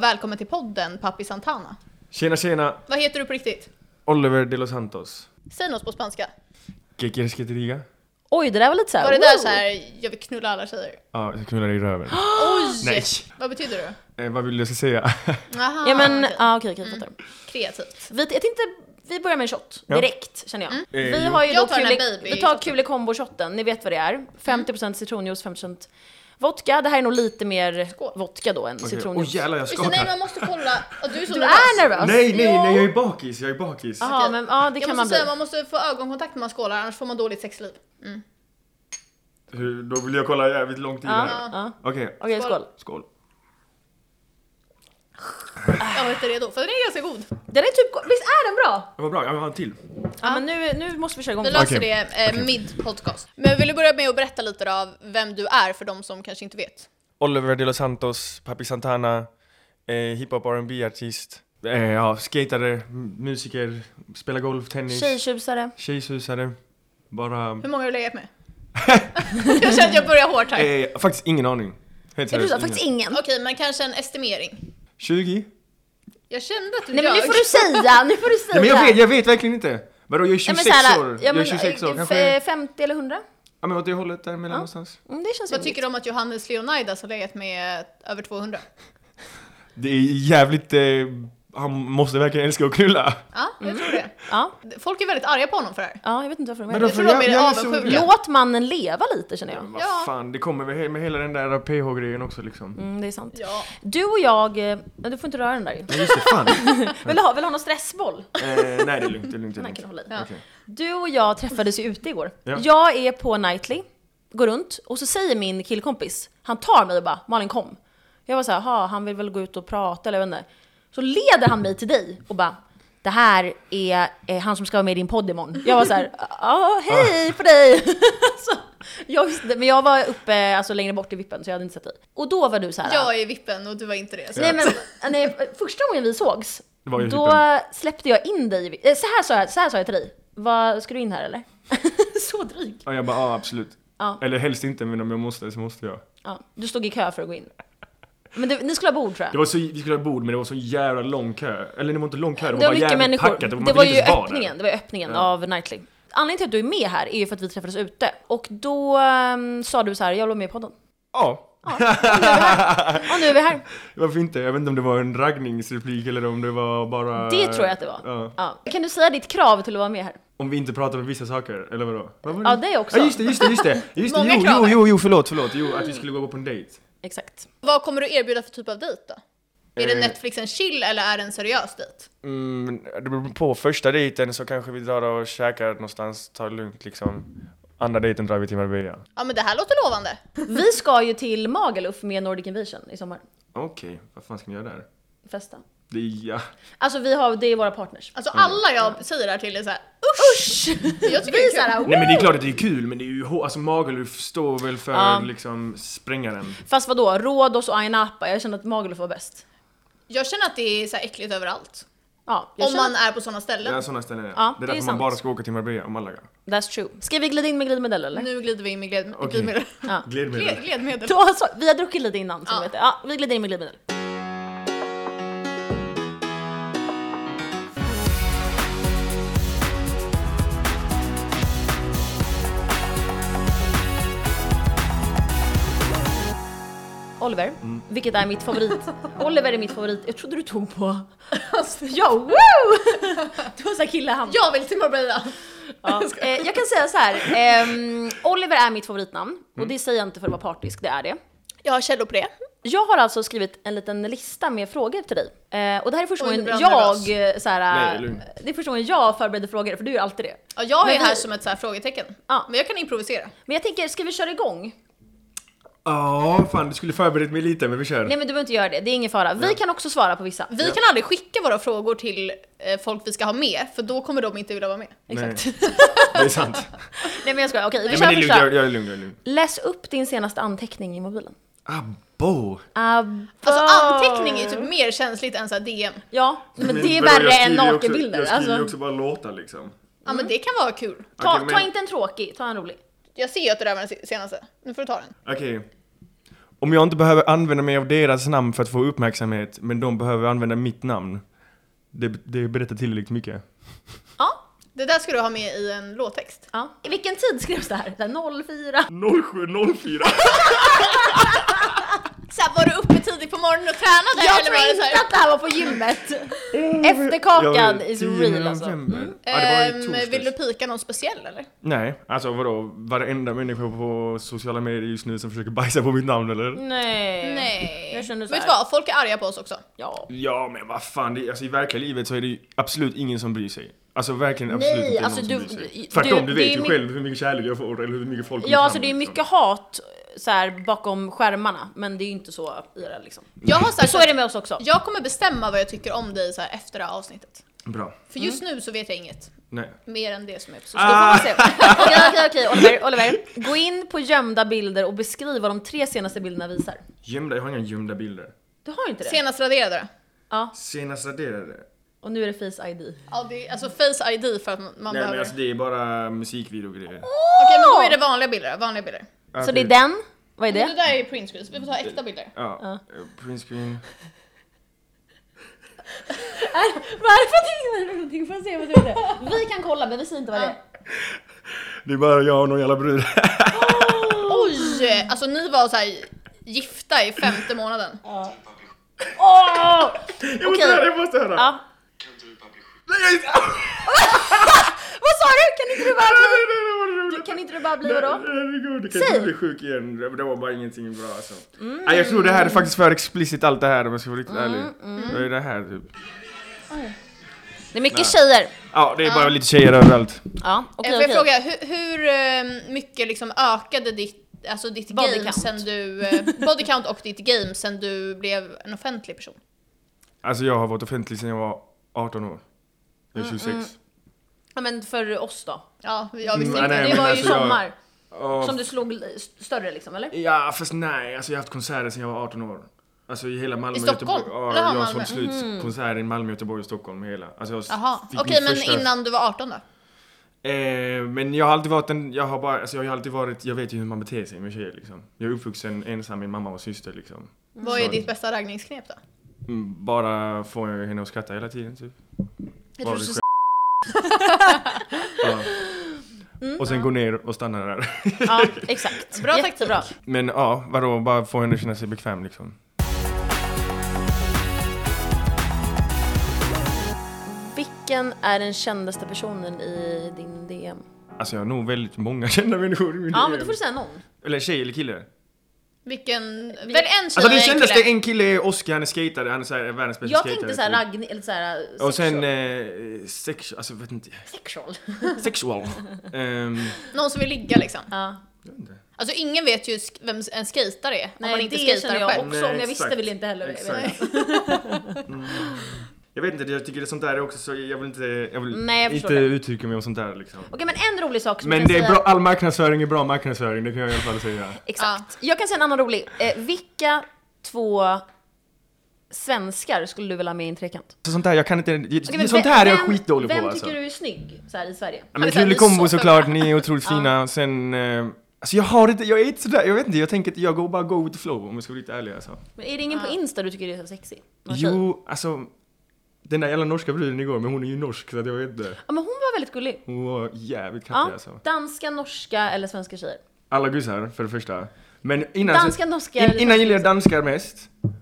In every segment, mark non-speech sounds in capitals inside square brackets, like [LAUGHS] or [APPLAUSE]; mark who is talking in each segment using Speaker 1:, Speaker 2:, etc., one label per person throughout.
Speaker 1: Välkommen till podden Papi Santana.
Speaker 2: Tjena tjena,
Speaker 1: Vad heter du på riktigt?
Speaker 2: Oliver de los Santos.
Speaker 1: Säg något på spanska.
Speaker 2: ¿Qué quieres que te diga?
Speaker 3: Oj, det där var lite såhär...
Speaker 1: Var det där
Speaker 3: wow.
Speaker 1: så här, jag vill knulla alla tjejer?
Speaker 2: Ja, jag knullar dig i röven.
Speaker 1: Oj!
Speaker 2: Nej.
Speaker 1: Vad betyder det?
Speaker 2: Eh, vad vill du jag
Speaker 1: [LAUGHS]
Speaker 2: ska säga?
Speaker 1: Aha,
Speaker 3: Ja men, ah. ja
Speaker 1: Ah, okej. Mm.
Speaker 3: okej, okej, jag fattar.
Speaker 1: Kreativt.
Speaker 3: Vi, jag tänkte, vi börjar med en shot
Speaker 2: Ja.
Speaker 3: direkt känner jag.
Speaker 2: Eh,
Speaker 3: Vi
Speaker 2: jo.
Speaker 3: har ju
Speaker 1: Mm. Jag
Speaker 3: då
Speaker 1: tar den här
Speaker 3: Kule-
Speaker 1: baby- Mm.
Speaker 3: vi tar Kule Combo-shotten, ni vet vad det är. 50% citronjuice, 50% vodka. Det här är nog lite mer
Speaker 1: Skål.
Speaker 3: vodka då än
Speaker 2: Okej. Åh
Speaker 3: citronjuice.
Speaker 2: jävlar, jag
Speaker 1: Just det, nej
Speaker 2: skakar.
Speaker 1: man måste kolla. Ja, du är så
Speaker 3: du är nervös?
Speaker 2: Nej, nej,
Speaker 1: Ja.
Speaker 2: nej, jag är bakis, jag är bakis.
Speaker 3: Jaha,
Speaker 1: Okej.
Speaker 3: men ja, det
Speaker 1: jag måste
Speaker 3: kan man bli.
Speaker 1: säga, man måste få ögonkontakt när man skålar annars får man dåligt sexliv. Mm.
Speaker 2: Hur, då vill jag kolla jävligt långt i det
Speaker 3: Ja,
Speaker 2: här.
Speaker 3: ja.
Speaker 2: Okej,
Speaker 3: Okej,
Speaker 1: Skål.
Speaker 3: skål.
Speaker 2: skål.
Speaker 1: Jag var inte redo, för den är ganska god.
Speaker 3: Den är typ, go- visst är den bra?
Speaker 2: Det var bra, jag har en till.
Speaker 3: Ja, men nu, nu måste vi köra igång.
Speaker 1: Vi löser
Speaker 2: Okej.
Speaker 1: det eh,
Speaker 2: Okej.
Speaker 1: mid podcast. Men vill du börja med att berätta lite då av vem du är för de som kanske inte vet?
Speaker 2: Oliver de los Santos, Papi Santana, eh, hiphop R&B artist eh, ja, skatare, m- musiker, spelar golf, tennis,
Speaker 3: Tjejtjusare.
Speaker 2: tjejsusare. Bara...
Speaker 1: Hur många har du legat
Speaker 3: [LAUGHS]
Speaker 1: med? jag känner att jag börjar hårt här.
Speaker 2: Eh, faktiskt ingen aning. Helt
Speaker 3: Är du
Speaker 2: seriöst,
Speaker 3: sa faktiskt
Speaker 2: ingen.
Speaker 3: ingen.
Speaker 1: Okej, men kanske en estimering.
Speaker 2: 20?
Speaker 1: Jag kände att du
Speaker 3: Nej men nu
Speaker 1: ljög.
Speaker 3: får du säga, nu får du säga.
Speaker 2: Nej men jag vet, jag vet verkligen inte. Vadå, jag är 26
Speaker 3: Ja, men så här,
Speaker 2: år.
Speaker 3: ja, men,
Speaker 2: jag är 26 år,
Speaker 3: eh,
Speaker 2: kanske...
Speaker 3: f- 50 eller 100?
Speaker 2: Ja men åt det hållet där mellan någonstans.
Speaker 3: Mm, det känns
Speaker 1: Vad
Speaker 3: rimligt.
Speaker 1: tycker du om att Johannes Leonidas har legat med över 200?
Speaker 2: Det är jävligt... Eh, han måste verkligen älska att knulla.
Speaker 1: Ja, jag tror det.
Speaker 3: Ja,
Speaker 1: Folk är väldigt arga på honom för det här.
Speaker 3: ja, jag vet inte varför de är
Speaker 2: Men
Speaker 3: det.
Speaker 1: då- tror de är
Speaker 2: så...
Speaker 1: avundsjuka.
Speaker 2: Ja,
Speaker 3: Låt mannen leva lite känner jag.
Speaker 2: Vad
Speaker 1: Ja.
Speaker 2: fan, det kommer väl he- med hela den där PH-grejen också liksom.
Speaker 3: Mm, det är sant.
Speaker 1: Ja.
Speaker 3: Du och jag, eh, ja, du får inte röra den där.
Speaker 2: Men just det,
Speaker 3: [LAUGHS]
Speaker 2: fan.
Speaker 3: Vill du ha, vill du ha någon stressboll?
Speaker 2: eh, nej det är lugnt, det är lugnt. Det är
Speaker 3: Den här
Speaker 2: lugnt.
Speaker 3: kan du hålla i.
Speaker 1: Ja.
Speaker 2: Okej.
Speaker 3: Du och jag träffades ju ute igår.
Speaker 2: Ja.
Speaker 3: Jag är på Nightly, går runt och så säger min killkompis, han tar mig och bara “Malin kom”. Jag var såhär, jaha han vill väl gå ut och prata eller jag vet inte. Så leder han mig till dig och bara “Det här är, eh, han som ska vara med i din podd imorgon”. Jag var såhär “Ja, hej på dig”. [LAUGHS] så, jag visste, men jag var uppe alltså, längre bort i vippen så jag hade inte sett dig. Och då var du såhär
Speaker 1: Jag är i vippen och du var inte det. Så.
Speaker 3: Nej men, nej, första gången vi sågs,
Speaker 2: Det var ju
Speaker 3: då
Speaker 2: typen.
Speaker 3: släppte jag in dig. eh, Så här sa jag, så här sa jag till dig. Vad, ska du in här eller? [LAUGHS] så dryg.
Speaker 2: Ja, jag bara, ja absolut.
Speaker 3: Ja.
Speaker 2: Eller helst inte, men om jag måste så måste jag.
Speaker 3: Ja, du stod i kö för att gå in. Men det, ni skulle ha bord tror
Speaker 2: Det
Speaker 3: jag.
Speaker 2: var så, vi skulle ha bord men det var så jävla lång kö. Eller det var inte lång kö, det var,
Speaker 3: Det var
Speaker 2: bara
Speaker 3: mycket
Speaker 2: jävligt
Speaker 3: människor.
Speaker 2: packat. man
Speaker 3: det
Speaker 2: ville
Speaker 3: var
Speaker 2: inte
Speaker 3: ju
Speaker 2: ens vara där.
Speaker 3: öppningen, det var öppningen
Speaker 2: Ja.
Speaker 3: av Nightly. Anledningen till att du är med här är ju för att vi träffades ute. Och då ehm, sa du så här, jag vill vara med i podden.
Speaker 2: Ja,
Speaker 3: Och nu är vi här.
Speaker 2: varför inte? Jag vet inte om det var en raggningsreplik eller om det var bara...
Speaker 3: Det tror jag att det var.
Speaker 2: Ja.
Speaker 3: Ja. Kan du säga ditt krav till att vara med här?
Speaker 2: Om vi inte pratar om vissa saker, eller vadå? Vad var
Speaker 3: Ja, det också.
Speaker 2: Ja just det, just det, just
Speaker 3: [LAUGHS]
Speaker 2: det! Just det.
Speaker 1: Många
Speaker 2: Jo,
Speaker 1: krav
Speaker 2: jo,
Speaker 1: här.
Speaker 2: jo, jo, förlåt, förlåt, jo, att vi skulle gå på en dejt.
Speaker 3: Exakt.
Speaker 1: Vad kommer du erbjuda för typ av dejt då? Är det
Speaker 2: Eh.
Speaker 1: Netflix en chill eller är det en seriös dejt?
Speaker 2: Mm, det beror på, första dejten så kanske vi drar och käkar någonstans, tar det lugnt liksom. Andra dejten drar vi till Marbella.
Speaker 1: Ja men det här låter lovande.
Speaker 3: Vi ska ju till Magaluf med Nordic Invasion i sommar.
Speaker 2: Okej, vad fan ska ni göra där?
Speaker 3: Festa.
Speaker 2: Det är, ja.
Speaker 3: Alltså vi har, det är våra partners.
Speaker 1: Alltså alla jag säger det här till är såhär usch! [LAUGHS] Jag tycker det är
Speaker 3: såhär,
Speaker 1: kul.
Speaker 2: Nej men det är klart att det är kul men det är ju hå- alltså Magaluf står väl för
Speaker 3: Ja.
Speaker 2: liksom sprängaren.
Speaker 3: [LAUGHS] Fast vadå, Rhodos och Aina Appa, jag känner att Magaluf var bäst.
Speaker 1: Jag känner att det är såhär äckligt överallt.
Speaker 3: Ja, jag
Speaker 1: Om
Speaker 3: känner-
Speaker 1: man är på sådana
Speaker 2: Det
Speaker 1: ställen.
Speaker 2: är sådana ställen
Speaker 3: Ja,
Speaker 2: det är
Speaker 3: det är
Speaker 2: därför man
Speaker 3: sant.
Speaker 2: bara ska åka till Marbella och Malaga.
Speaker 3: That's true. Ska vi glida in med glidmedel eller?
Speaker 1: Nu glider vi in med gled,
Speaker 2: Okej.
Speaker 1: glidmedel.
Speaker 3: Ja.
Speaker 1: Gled, glidmedel.
Speaker 3: [LAUGHS] Då, så, vi har druckit lite innan, som
Speaker 1: Ja.
Speaker 3: vet det. ja, vi glider in med glidmedel. Oliver, vilket är mitt favorit. Oliver är mitt favorit. Jag trodde du tog på... [LAUGHS] Ja, woo! Du var såhär killehamn.
Speaker 1: Jag vill till Marbella!
Speaker 3: Ja. Eh, jag kan säga så här. ehm, Oliver är mitt favoritnamn och det säger jag inte för att vara partisk, det är det.
Speaker 1: Jag har källor på det.
Speaker 3: Jag har alltså skrivit en liten lista med frågor till dig. Eh, och det här är första
Speaker 1: Oj, nu
Speaker 3: gången
Speaker 1: blir jag
Speaker 3: jag, eh, så här,
Speaker 2: Nej, lugn.
Speaker 3: det är första gången jag förbereder frågor, för du gör alltid det.
Speaker 1: Ja, jag
Speaker 3: Men
Speaker 1: är
Speaker 3: vi-
Speaker 1: här som ett så här frågetecken.
Speaker 3: Ja.
Speaker 1: Men jag kan improvisera.
Speaker 3: Men jag tänker, ska vi köra igång?
Speaker 2: Ja, fan du skulle förberett mig lite men vi kör.
Speaker 3: Nej men du behöver inte göra det, det är ingen fara. Vi kan också svara på vissa.
Speaker 1: Vi kan aldrig skicka våra frågor till eh, folk vi ska ha med, för då kommer de inte vilja vara med.
Speaker 2: Nej. [LAUGHS] Det är sant.
Speaker 3: Nej men jag skojar, okej vi
Speaker 2: Nej, men det är lugnt,
Speaker 3: kör
Speaker 2: jag,
Speaker 3: första.
Speaker 2: jag är lugn, jag är lugn.
Speaker 3: Läs upp din senaste anteckning i mobilen.
Speaker 2: Abo!
Speaker 3: Abba.
Speaker 1: Alltså anteckning är typ mer känsligt än så här DM.
Speaker 3: Ja, men det är
Speaker 2: vadå, jag
Speaker 3: värre
Speaker 2: skriver
Speaker 3: än
Speaker 2: ju också-
Speaker 3: nakenbilder.
Speaker 2: Jag skriver ju
Speaker 3: Alltså,
Speaker 2: också bara låtar liksom.
Speaker 1: Ja men det kan vara kul.
Speaker 3: ta,
Speaker 2: Okej,
Speaker 3: ta
Speaker 2: men-
Speaker 3: inte en tråkig, ta en rolig.
Speaker 1: Jag ser ju att det där var den se- senaste. Nu får du ta den.
Speaker 2: Okej. Om jag inte behöver använda mig av deras namn för att få uppmärksamhet, men de behöver använda mitt namn. Det, det berättar tillräckligt mycket.
Speaker 3: Ja,
Speaker 1: Det där ska du ha med i en låttext.
Speaker 3: ja. I vilken tid skrevs det här? Så här 04?
Speaker 2: 0704!
Speaker 1: Så här, var du uppe tidigt på morgonen och tränade?
Speaker 3: Jag
Speaker 1: eller
Speaker 3: tror
Speaker 1: var det så
Speaker 3: inte
Speaker 1: här,
Speaker 3: att det här var på gymmet. [LAUGHS] Efterkakan is real alltså. Mm.
Speaker 2: Ja, det var ju
Speaker 1: "Ehm,
Speaker 2: torsdags.
Speaker 1: vill du pika någon speciell eller?
Speaker 2: Nej, alltså vadå? Varenda människa på sociala medier just nu som försöker bajsa på mitt namn eller?
Speaker 3: Nej.
Speaker 1: Nej.
Speaker 3: Jag känner så
Speaker 1: Vet
Speaker 3: här.
Speaker 1: du vad, folk är arga på oss också.
Speaker 3: Ja.
Speaker 2: Ja men vad fan, det, alltså, i verkliga livet så är det ju absolut ingen som bryr sig. Alltså verkligen absolut
Speaker 3: Nej,
Speaker 2: inte
Speaker 3: alltså,
Speaker 2: någon
Speaker 3: du-
Speaker 2: som bryr sig.
Speaker 3: du-
Speaker 2: Tvärtom, du,
Speaker 3: det är
Speaker 2: vet ju
Speaker 3: my-
Speaker 2: själv hur mycket kärlek jag får eller hur mycket folk
Speaker 3: Ja, alltså det är
Speaker 2: liksom.
Speaker 3: mycket hat så här, bakom skärmarna, men det är ju inte så i det liksom.
Speaker 1: Jag har sagt
Speaker 3: Så är det med oss [LAUGHS] också.
Speaker 1: jag kommer bestämma vad jag tycker om dig så här efter det här avsnittet.
Speaker 2: Bra.
Speaker 1: För just nu så vet jag inget.
Speaker 2: Nej.
Speaker 1: Mer än det som är på
Speaker 3: Då
Speaker 1: sociala
Speaker 3: får
Speaker 2: Ah.
Speaker 3: man se. Okej, okej, okej, Oliver, Oliver. Gå in på gömda bilder och beskriv vad de tre senaste bilderna visar.
Speaker 2: Gömda, jag har inga gömda bilder.
Speaker 3: Du har inte det?
Speaker 1: Senast raderade det.
Speaker 3: Ja,
Speaker 2: Senast raderade?
Speaker 3: och nu är det Face ID.
Speaker 1: Ja, det är, alltså face ID för att man
Speaker 2: Nej
Speaker 1: behöver...
Speaker 2: men alltså det är bara musikvideogrejer.
Speaker 1: Okej men då är det vanliga bilder då, vanliga bilder.
Speaker 3: Så det är den, vad är
Speaker 1: Det, det
Speaker 3: [LAUGHS] det?
Speaker 1: där är ju printscreens, vi får ta äkta bilder.
Speaker 2: Ja. eh, Print screen.
Speaker 3: Varför tänker du någonting? Får jag se vad du är? Vi kan kolla, men vi säger inte vad det är.
Speaker 2: Det är bara jag och någon jävla brud. [LAUGHS]
Speaker 1: Oj! Alltså ni var så här gifta i femte månaden.
Speaker 3: Åh!
Speaker 2: jag måste
Speaker 3: Okej.
Speaker 2: höra, jag måste höra!
Speaker 3: Ja.
Speaker 2: Nej, jag- [LAUGHS]
Speaker 3: Vad sa du? Kan inte du bara
Speaker 2: Nej,
Speaker 3: bli,
Speaker 2: nej, nej, vad roligt.
Speaker 3: du, kan inte du bara bli vadå?
Speaker 2: Herregud, du kan
Speaker 3: Säg.
Speaker 2: inte bli sjuk igen. Det var bara ingenting bra alltså.
Speaker 1: Mm.
Speaker 2: Nej, jag tror det här är faktiskt för explicit allt det här om jag ska vara riktigt ärlig.
Speaker 1: mm.
Speaker 2: Det är det här typ.
Speaker 3: Det är mycket tjejer.
Speaker 2: Ja, det är bara lite tjejer överallt.
Speaker 3: Ja, okej
Speaker 1: Okay, Eh, Får jag
Speaker 3: okej.
Speaker 1: fråga, hur, hur eh, mycket liksom ökade ditt, alltså ditt
Speaker 3: Body
Speaker 1: game
Speaker 3: count.
Speaker 1: sen du... eh, Body count och ditt game sen du blev en offentlig person?
Speaker 2: Alltså jag har varit offentlig sedan jag var 18 år. Jag
Speaker 1: Mm,
Speaker 2: är 26.
Speaker 3: Ja, men för oss då?
Speaker 1: Ja, jag visste
Speaker 2: Mm,
Speaker 1: inte.
Speaker 2: nej,
Speaker 1: det
Speaker 2: men
Speaker 1: var ju
Speaker 2: alltså
Speaker 1: så...
Speaker 2: jag-
Speaker 3: Sommar.
Speaker 2: Och-
Speaker 3: Som du slog eh, st- större liksom, eller?
Speaker 2: Ja, fast nej. Alltså jag har haft konserter sedan jag var 18 år. Alltså i hela Malmö
Speaker 1: I
Speaker 2: och
Speaker 1: Stockholm?
Speaker 2: Göteborg. Ja,
Speaker 1: Eller har
Speaker 2: jag har
Speaker 1: Malmö? Mm.
Speaker 2: fått slut konserter i Malmö, Göteborg och Stockholm. Hela. Alltså jag
Speaker 1: Jaha,
Speaker 2: fick
Speaker 1: okej
Speaker 2: min
Speaker 1: men
Speaker 2: första-
Speaker 1: innan du var 18 då?
Speaker 3: Mm.
Speaker 2: Eh, men jag har alltid varit en, jag har bara, alltså jag har alltid varit, jag vet ju hur man beter sig med tjejer liksom. Jag är uppvuxen ensam med mamma och syster liksom.
Speaker 1: Vad är
Speaker 2: Sorry.
Speaker 1: ditt bästa raggningsknep då?
Speaker 2: Mm, Bara får jag henne att skratta hela tiden typ. Bara
Speaker 3: Jag tror du
Speaker 2: det
Speaker 3: skulle [LAUGHS]
Speaker 2: ja.
Speaker 3: Mm,
Speaker 2: Och sen gå ner och stanna där.
Speaker 3: [LAUGHS]
Speaker 2: [LAUGHS]
Speaker 3: Ja, exakt.
Speaker 1: Bra
Speaker 3: Jättebra.
Speaker 2: Men ja, vadå, bara få henne att känna sig bekväm liksom.
Speaker 3: Vilken är den kändaste personen i din DM?
Speaker 2: Alltså jag har nog väldigt många [LAUGHS] kända människor i min
Speaker 3: Ja,
Speaker 2: DM.
Speaker 3: men då får du säga någon.
Speaker 2: Eller tjej eller kille.
Speaker 1: Vilken... Väl en tjej
Speaker 2: Alltså den
Speaker 1: och en
Speaker 2: kändaste,
Speaker 1: kille?
Speaker 2: en kille är Oscar, han är skatare, han är såhär världens bästa
Speaker 3: Jag
Speaker 2: skatare.
Speaker 3: tänkte såhär Ragni, eller såhär...
Speaker 2: Och sen,
Speaker 3: sexual.
Speaker 2: eh, sex, alltså vet inte,
Speaker 3: Sexual.
Speaker 2: sexual.
Speaker 3: [LAUGHS]
Speaker 2: Ehm,
Speaker 1: Någon som vill ligga liksom?
Speaker 3: Ja.
Speaker 2: jag vet inte.
Speaker 1: Alltså ingen vet ju sk- vem en skater är om man
Speaker 3: Nej,
Speaker 1: inte
Speaker 3: det känner
Speaker 1: skejtar
Speaker 3: jag
Speaker 1: själv.
Speaker 3: också.
Speaker 2: Nej,
Speaker 3: Om jag visste
Speaker 2: eh, exakt.
Speaker 3: vill inte heller
Speaker 2: Exakt.
Speaker 3: [LAUGHS]
Speaker 2: Mm. Jag vet inte, jag tycker det sånt där är också så, jag vill inte, jag vill
Speaker 3: Nej, jag
Speaker 2: inte
Speaker 3: förstår det.
Speaker 2: uttrycka mig om sånt där liksom.
Speaker 3: Okej, men en rolig sak som
Speaker 2: Men
Speaker 3: jag kan
Speaker 2: det är
Speaker 3: säga.
Speaker 2: bra, all marknadsföring är bra marknadsföring, det kan jag i alla fall säga.
Speaker 3: Exakt. Jag kan säga en annan rolig. Eh, vilka två svenskar skulle du vilja ha med i en trekant?
Speaker 2: Så sånt där, jag kan inte,
Speaker 3: Okej, men
Speaker 2: sånt
Speaker 3: vem-
Speaker 2: där är jag
Speaker 3: vem-
Speaker 2: skitdålig
Speaker 3: Vem
Speaker 2: på alltså.
Speaker 3: tycker du Alltså, är snygg så här, i Sverige?
Speaker 2: Ja,
Speaker 1: Han
Speaker 2: men
Speaker 1: är så här, ni
Speaker 2: Krille
Speaker 1: är
Speaker 2: Combo
Speaker 1: så
Speaker 2: såklart,
Speaker 1: fina.
Speaker 2: ni är
Speaker 3: [LAUGHS]
Speaker 2: otroligt fina. Sen, eh, alltså jag har inte, jag är inte sådär, jag vet inte, jag tänker att jag går bara go with the flow om jag ska vara lite ärlig alltså.
Speaker 3: Men är det ingen på Insta du tycker är så sexig? Någon tjej?
Speaker 2: Jo, alltså, den där jävla norska bruden igår, men hon är ju norsk så att jag vet inte.
Speaker 3: Ja, men hon var väldigt gullig.
Speaker 2: Hon var jävligt kattig
Speaker 3: Ja,
Speaker 2: alltså.
Speaker 3: danska, norska eller svenska tjejer.
Speaker 2: Alla gussar, för det första. Men innan...
Speaker 3: Danska, norska
Speaker 2: in,
Speaker 3: eller liksom?
Speaker 2: innan gillade jag danskar mest.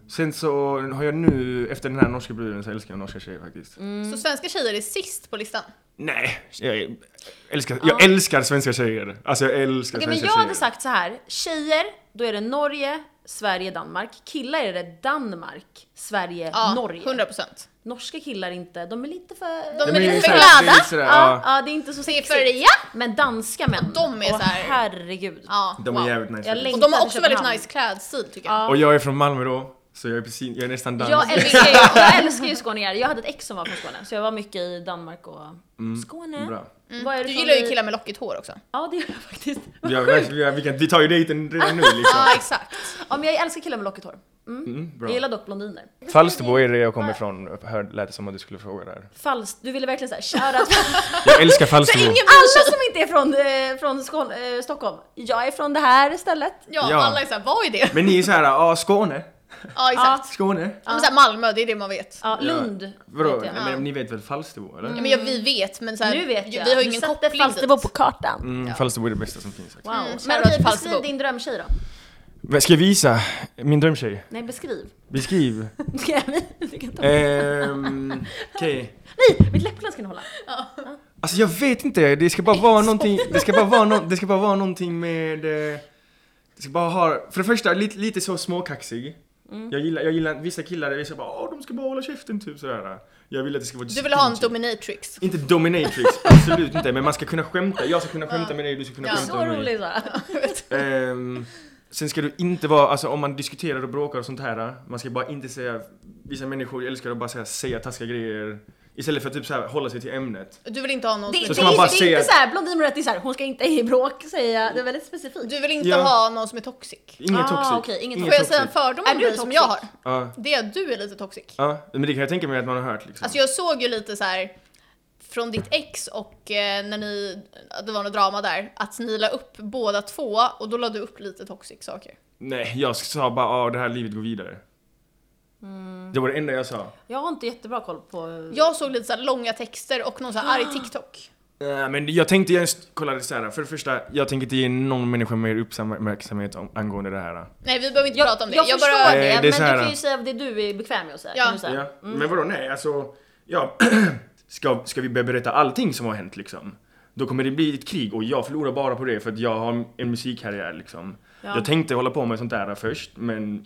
Speaker 2: Sen så har jag nu, efter den här norska bruden, så älskar jag norska tjejer faktiskt.
Speaker 3: Mm.
Speaker 1: Så svenska tjejer är sist på listan?
Speaker 2: Nej, jag älskar, jag älskar svenska tjejer. Alltså jag älskar
Speaker 3: Okej, men
Speaker 2: svenska
Speaker 3: jag
Speaker 2: tjejer.
Speaker 3: hade sagt så här. Tjejer, då är det Norge, Sverige, Danmark. Killar är det Danmark, Sverige,
Speaker 1: Ja,
Speaker 3: Norge.
Speaker 1: 100%.
Speaker 3: Norska killar inte, de är lite för...
Speaker 1: De
Speaker 2: Nej, men
Speaker 1: är
Speaker 2: det är
Speaker 1: lite för
Speaker 2: så här- det är
Speaker 1: glada.
Speaker 2: sådär,
Speaker 3: Ja,
Speaker 2: ja.
Speaker 3: ja, det är inte så
Speaker 1: Se
Speaker 3: sexigt.
Speaker 1: för ja!
Speaker 3: Men danska män,
Speaker 1: De är
Speaker 3: åh,
Speaker 1: så här-
Speaker 3: herregud.
Speaker 1: ja
Speaker 2: De är
Speaker 1: wow.
Speaker 2: jävligt nice.
Speaker 3: Jag
Speaker 2: faktiskt.
Speaker 1: Och de har
Speaker 3: Längtar
Speaker 1: också
Speaker 3: till
Speaker 1: väldigt
Speaker 3: Köpenhamn.
Speaker 1: nice klädstil tycker jag.
Speaker 3: Ja.
Speaker 2: Och jag är från Malmö då, så jag är, precis, jag är nästan dansk.
Speaker 3: Jag älskar, ju,
Speaker 1: [LAUGHS]
Speaker 3: jag älskar ju skåningar. Jag hade ett ex som var från Skåne, så jag var mycket i Danmark och Skåne.
Speaker 2: Mm, Bra.
Speaker 3: Vad är
Speaker 1: Mm. Du
Speaker 3: från
Speaker 1: gillar ju
Speaker 3: i-
Speaker 1: killar med lockigt hår också.
Speaker 3: Ja, det gör jag faktiskt. [LAUGHS]
Speaker 2: Vi, har, verkligen- vi, har, vi, kan, vi tar ju dejten redan nu liksom.
Speaker 1: Ja exakt.
Speaker 3: Ja, men jag älskar killar med lockigt hår.
Speaker 2: Mm, bra.
Speaker 3: Jag gillar dock blondiner.
Speaker 2: Falsterbo är det jag kommer ifrån, hör, lät det som att du skulle fråga där.
Speaker 3: Fals, du ville verkligen såhär, shoutout
Speaker 2: [LAUGHS] Jag
Speaker 3: [LAUGHS]
Speaker 2: älskar Falsterbo!
Speaker 1: Ingen bryr
Speaker 3: alla
Speaker 1: sig.
Speaker 3: som inte är från, eh, från Skåne, eh, Stockholm. Jag är från det här stället.
Speaker 1: Ja,
Speaker 2: Ja.
Speaker 1: alla är såhär, vad är det?
Speaker 2: Men ni är såhär, ja Skåne,
Speaker 1: Ja, exakt.
Speaker 2: Skåne.
Speaker 1: Men såhär, Malmö, det är det man vet.
Speaker 3: Ja,
Speaker 2: Ja.
Speaker 3: Lund.
Speaker 2: Vadå?
Speaker 3: vet jag.
Speaker 2: Nej, Men ni vet väl Falsterbo eller?
Speaker 1: Ja, men ja, vi vet, men såhär,
Speaker 3: Nu vet jag.
Speaker 1: vi har ju
Speaker 3: Du
Speaker 1: ingen
Speaker 3: satte
Speaker 1: koppling
Speaker 3: Falsterbo
Speaker 1: dit.
Speaker 3: på kartan.
Speaker 2: Mm, Falsterbo är det bästa som finns.
Speaker 3: Wow.
Speaker 1: Mm,
Speaker 3: Men
Speaker 1: shoutout
Speaker 3: okej,
Speaker 1: Falsterbo.
Speaker 3: beskriv din drömtjej då.
Speaker 2: Wow. Ska jag visa min drömtjej?
Speaker 3: Nej, [LAUGHS] beskriv.
Speaker 1: [LAUGHS]
Speaker 2: Beskriv.
Speaker 3: Ska jag- vi kan ta-
Speaker 1: Eh.
Speaker 2: Ehm, Okej.
Speaker 3: Nej, mitt läppglans kan du hålla.
Speaker 2: Alltså jag vet inte, det ska bara vara någonting, det ska bara vara, no, det ska bara vara någonting med... eh, Det ska bara ha, för det första lite, lite så småkaxig.
Speaker 1: Mm.
Speaker 2: Jag, gillar, jag gillar vissa killar, jag ska bara åh de ska bara hålla käften typ sådär. Jag vill att det ska vara
Speaker 1: Du vill ha en
Speaker 2: distinktivt.
Speaker 1: dominatrix.
Speaker 2: Inte dominatrix, absolut inte, men man ska kunna skämta. Jag ska kunna skämta med dig, du ska kunna
Speaker 1: Ja.
Speaker 2: skämta
Speaker 3: Så
Speaker 2: med mig.
Speaker 3: rolig Sara.
Speaker 2: Ehm, sen ska du inte vara, alltså om man diskuterar och bråkar och sånt här, man ska bara inte säga, vissa människor älskar att bara säga, säga taskiga grejer. Istället för att typ så här, hålla sig till ämnet.
Speaker 1: Du vill inte ha någon
Speaker 3: Det, det,
Speaker 1: som
Speaker 2: Så
Speaker 1: är
Speaker 3: det,
Speaker 2: ska man bara
Speaker 3: är- det är
Speaker 2: säga-
Speaker 3: inte såhär, blondin med rätt, det är såhär, hon ska inte i bråk säga, det är väldigt specifikt.
Speaker 1: Du vill inte
Speaker 2: Ja.
Speaker 1: ha någon som är toxic.
Speaker 2: Inget
Speaker 3: Ah,
Speaker 2: toxic.
Speaker 3: okej, inget
Speaker 1: Får jag säga en
Speaker 2: toxic.
Speaker 1: fördom
Speaker 3: Är
Speaker 1: om
Speaker 3: du
Speaker 1: dig som
Speaker 3: toxic?
Speaker 1: jag har?
Speaker 2: Ja,
Speaker 1: Det är att du är lite toxic.
Speaker 2: ja, men det kan jag tänka mig att man har hört liksom.
Speaker 1: Alltså jag såg ju lite så här från ditt ex och eh, när ni, att det var något drama där, att ni la upp båda två och då la du upp lite toxic saker.
Speaker 2: Nej, jag sa bara, ja det här livet går vidare. Det var det enda jag sa.
Speaker 3: Jag har inte jättebra koll på...
Speaker 1: Jag såg lite så här långa texter och någon så här arg
Speaker 3: Ah.
Speaker 1: TikTok.
Speaker 2: Nej, Eh, men jag tänkte just, kolla det så här. för det första, jag tänker inte ge någon människa mer uppmärksamhet om, angående det här.
Speaker 1: Nej vi behöver inte
Speaker 3: jag,
Speaker 1: prata om det.
Speaker 3: jag,
Speaker 1: Jag,
Speaker 3: förstår
Speaker 1: bara,
Speaker 2: Eh, det
Speaker 3: det,
Speaker 2: är
Speaker 3: men
Speaker 2: så
Speaker 3: du
Speaker 2: här.
Speaker 3: kan ju säga det du är bekväm med att säga.
Speaker 1: Ja.
Speaker 3: Kan du säga.
Speaker 2: Ja, men vadå nej, alltså, ja, [CLEARS THROAT] ska, ska vi börja berätta allting som har hänt liksom? Då kommer det bli ett krig och jag förlorar bara på det för att jag har en musikkarriär liksom.
Speaker 3: Ja.
Speaker 2: Jag tänkte hålla på med sånt där först, men...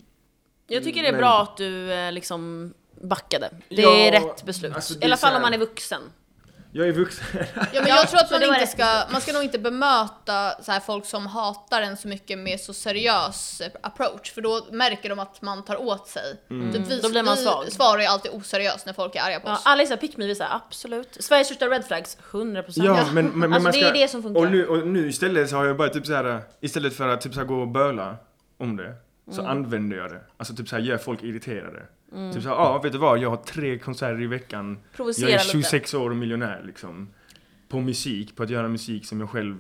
Speaker 3: Jag tycker det är
Speaker 2: Mm, Men-
Speaker 3: bra att du eh, liksom backade. Det
Speaker 2: Ja,
Speaker 3: är rätt beslut.
Speaker 2: alltså det
Speaker 3: I alla
Speaker 2: är så
Speaker 3: fall
Speaker 2: här-
Speaker 3: om man är vuxen.
Speaker 2: Jag är vuxen. [LAUGHS]
Speaker 1: ja, men jag tror att
Speaker 3: så
Speaker 1: man
Speaker 3: det var
Speaker 1: inte
Speaker 3: rätt
Speaker 1: ska, man ska nog inte bemöta så här folk som hatar en så mycket med så seriös eh, approach för då märker de att man tar åt sig. Typ vi,
Speaker 3: Mm. Då blir man
Speaker 1: vi
Speaker 3: svag.
Speaker 1: svarar ju alltid oseriöst när folk är arga på
Speaker 3: Ja,
Speaker 1: oss.
Speaker 3: alla är såhär pick me, vi är såhär absolut. Sveriges största red flags, 100%.
Speaker 2: Ja,
Speaker 3: [LAUGHS]
Speaker 2: men, men, men
Speaker 3: Alltså,
Speaker 2: man
Speaker 3: det
Speaker 2: ska,
Speaker 3: är det som funkar.
Speaker 2: Och nu, och nu istället så har jag bara typ så här istället för att typ så här gå och böla om det, så
Speaker 3: Mm.
Speaker 2: använder jag det. Alltså typ så här gör folk irriterade. Typ så här, ja ah, vet du vad, jag har tre konserter i veckan.
Speaker 3: Provocera
Speaker 2: jag är
Speaker 3: lite.
Speaker 2: 26 år och miljonär liksom. På musik, på att göra musik som jag själv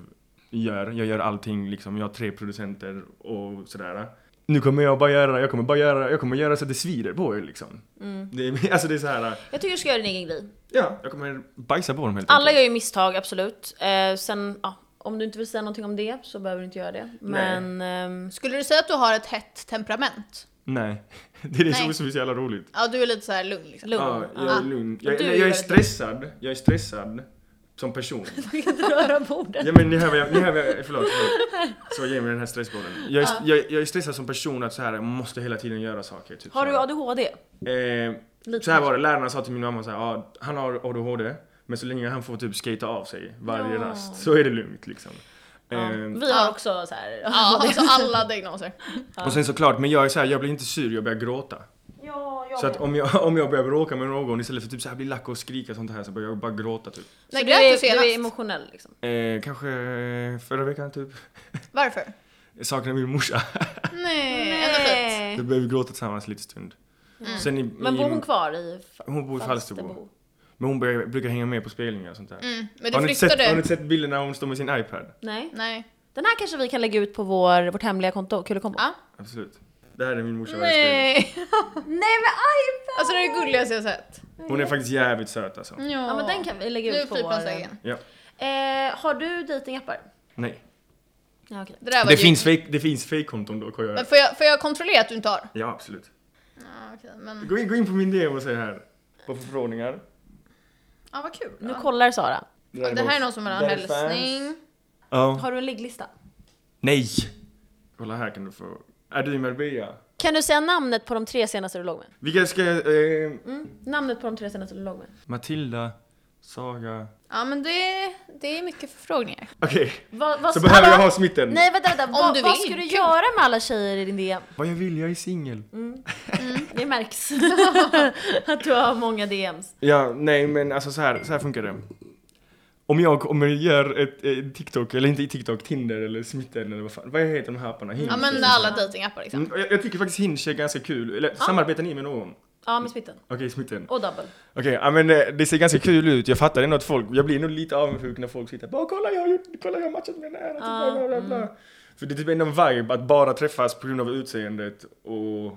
Speaker 2: gör. Jag gör allting liksom, jag har tre producenter och sådär. Nu kommer jag bara göra, jag kommer bara göra, jag kommer göra så att det svider på er liksom.
Speaker 3: Mm.
Speaker 2: Det är, [LAUGHS] alltså det är så här,
Speaker 3: Jag tycker du ska göra din egen grej.
Speaker 2: ja, jag kommer bajsa på dem helt
Speaker 3: Alla gör ju misstag, absolut. Eh, sen, ja, om du inte vill säga någonting om det så behöver du inte göra det.
Speaker 2: Nej.
Speaker 3: Men... ehm,
Speaker 1: Skulle du säga att du har ett hett temperament?
Speaker 2: Nej, [LAUGHS] det är det som
Speaker 1: Nej.
Speaker 2: är så jävla roligt.
Speaker 1: Ja du är lite så här lugn liksom.
Speaker 3: lugn.
Speaker 2: Ja, jag
Speaker 3: Ja.
Speaker 2: är lugn. Jag,
Speaker 3: Ah. Du
Speaker 2: nej,
Speaker 3: är
Speaker 2: jag är
Speaker 3: väldigt
Speaker 2: stressad. Jag är stressad som person.
Speaker 3: Du kan [LAUGHS] inte röra bordet.
Speaker 2: Ja men ni hör vad jag, ni hör vad jag, eh, förlåt, förlåt. Så ge mig den här stressbollen. Jag är,
Speaker 3: Ah.
Speaker 2: jag, jag är stressad som person att så här, jag måste hela tiden göra saker. Typ,
Speaker 3: Har
Speaker 2: så
Speaker 3: du
Speaker 2: här.
Speaker 3: ADHD?
Speaker 2: Eh,
Speaker 3: Lite
Speaker 2: så här var det, lärarna sa till min mamma så här, ja, han har ADHD, men så länge han får typ skata av sig varje
Speaker 3: Ja.
Speaker 2: rast så är det lugnt liksom.
Speaker 3: Ja.
Speaker 2: Eh,
Speaker 3: Vi har
Speaker 1: Ja.
Speaker 3: också så här. [LAUGHS]
Speaker 1: Ja, alltså alla diagnoser.
Speaker 2: och sen såklart, men jag är så här, jag blir inte sur, jag börjar gråta. Så att om jag, [LAUGHS] om jag börjar bråka med någon istället för typ så här bli lack och skrika och sånt här så börjar jag bara gråta typ.
Speaker 1: När
Speaker 3: Så
Speaker 1: grät du
Speaker 3: är, Du är
Speaker 1: senast?
Speaker 3: emotionell liksom.
Speaker 2: Eh, kanske förra veckan typ.
Speaker 1: Varför?
Speaker 2: Jag saknar
Speaker 1: [LAUGHS]
Speaker 2: min morsa.
Speaker 1: Nej, ändå fint.
Speaker 2: Vi behöver gråta tillsammans lite stund.
Speaker 1: Mm.
Speaker 2: Sen i,
Speaker 3: Men
Speaker 2: i,
Speaker 3: bor hon kvar i F-
Speaker 2: Hon bor i Falsterbo.
Speaker 3: Falsterbo?
Speaker 2: Men hon börjar, brukar hänga med på spelningar och sånt där.
Speaker 1: Mm, men
Speaker 2: Har
Speaker 1: du
Speaker 2: ni inte sett, har ni
Speaker 1: flyttade?
Speaker 2: inte sett bilden när hon står med sin iPad?
Speaker 3: Nej.
Speaker 1: Nej.
Speaker 3: Den här kanske vi kan lägga ut på vår, vårt hemliga konto, Kulekombo.
Speaker 1: Ja.
Speaker 2: Absolut. Det här är min morsa varje spelning.
Speaker 1: Nej.
Speaker 3: Nej men iPad!
Speaker 1: Alltså det är det gulligaste jag sett.
Speaker 2: Hon är faktiskt jävligt söt alltså.
Speaker 1: Mm.
Speaker 3: Ja men den kan vi lägga
Speaker 1: Nu
Speaker 3: ut på vår...
Speaker 1: flygplansvägen.
Speaker 2: Ja.
Speaker 3: Eh, har du dejtingappar?
Speaker 2: Nej.
Speaker 3: Ja okej.
Speaker 1: Det där var
Speaker 2: Det
Speaker 1: ju-
Speaker 2: finns, fake, det finns fake-konton då kan jag
Speaker 1: Men
Speaker 2: göra.
Speaker 1: får jag, får jag kontrollera att du inte har?
Speaker 2: Ja absolut.
Speaker 1: Ja, okej, men...
Speaker 2: Gå in, gå in på min DM och säg här. På förfrågningar.
Speaker 1: Ja, vad kul.
Speaker 3: Nu
Speaker 1: Ja.
Speaker 3: kollar Sara.
Speaker 1: Ja, Det här är någon som vill ha en
Speaker 2: Där är fans.
Speaker 1: hälsning.
Speaker 2: Ja.
Speaker 3: Har du en ligglista?
Speaker 2: Nej! Kolla här kan du få. Är du i Marbella?
Speaker 3: Kan du säga namnet på de tre senaste du låg med?
Speaker 2: Vilka ska jag... Eh,
Speaker 3: Mm. Namnet på de tre senaste du låg med.
Speaker 2: Matilda, Saga...
Speaker 1: Ja, men det, det är mycket förfrågningar.
Speaker 2: Okej,
Speaker 3: Vad, vad
Speaker 2: så
Speaker 3: ska
Speaker 2: behöver jag
Speaker 3: alla-
Speaker 2: ha smitten.
Speaker 3: Nej vänta vänta, vad,
Speaker 1: du
Speaker 3: vad
Speaker 1: vill.
Speaker 3: ska du göra med alla tjejer i din DM?
Speaker 2: Vad jag vill, jag är singel.
Speaker 3: Det [LAUGHS] märks att du har många DMs.
Speaker 2: Ja, nej men alltså så här, så här funkar det. om jag om jag gör ett, eh, TikTok, eller inte TikTok, Tinder eller Smitten eller vad fan, vad heter de här apparna? Hinge,
Speaker 1: Ja men
Speaker 2: liksom.
Speaker 1: alla datingappar liksom.
Speaker 2: Mm, och jag, jag tycker faktiskt Hinge är ganska kul, eller samarbetar ni med någon?
Speaker 3: Ja, med smitten.
Speaker 2: Okej, Smitten.
Speaker 3: Och double.
Speaker 2: Okej, ja men eh, det ser ganska kul ut, jag fattar ändå att folk, jag blir nog lite avundsjuk när folk sitter bara kolla jag har gjort, kolla jag har matchat med den här, typ, bla bla bla bla. För det är typ ändå en vibe att bara träffas på grund av utseendet och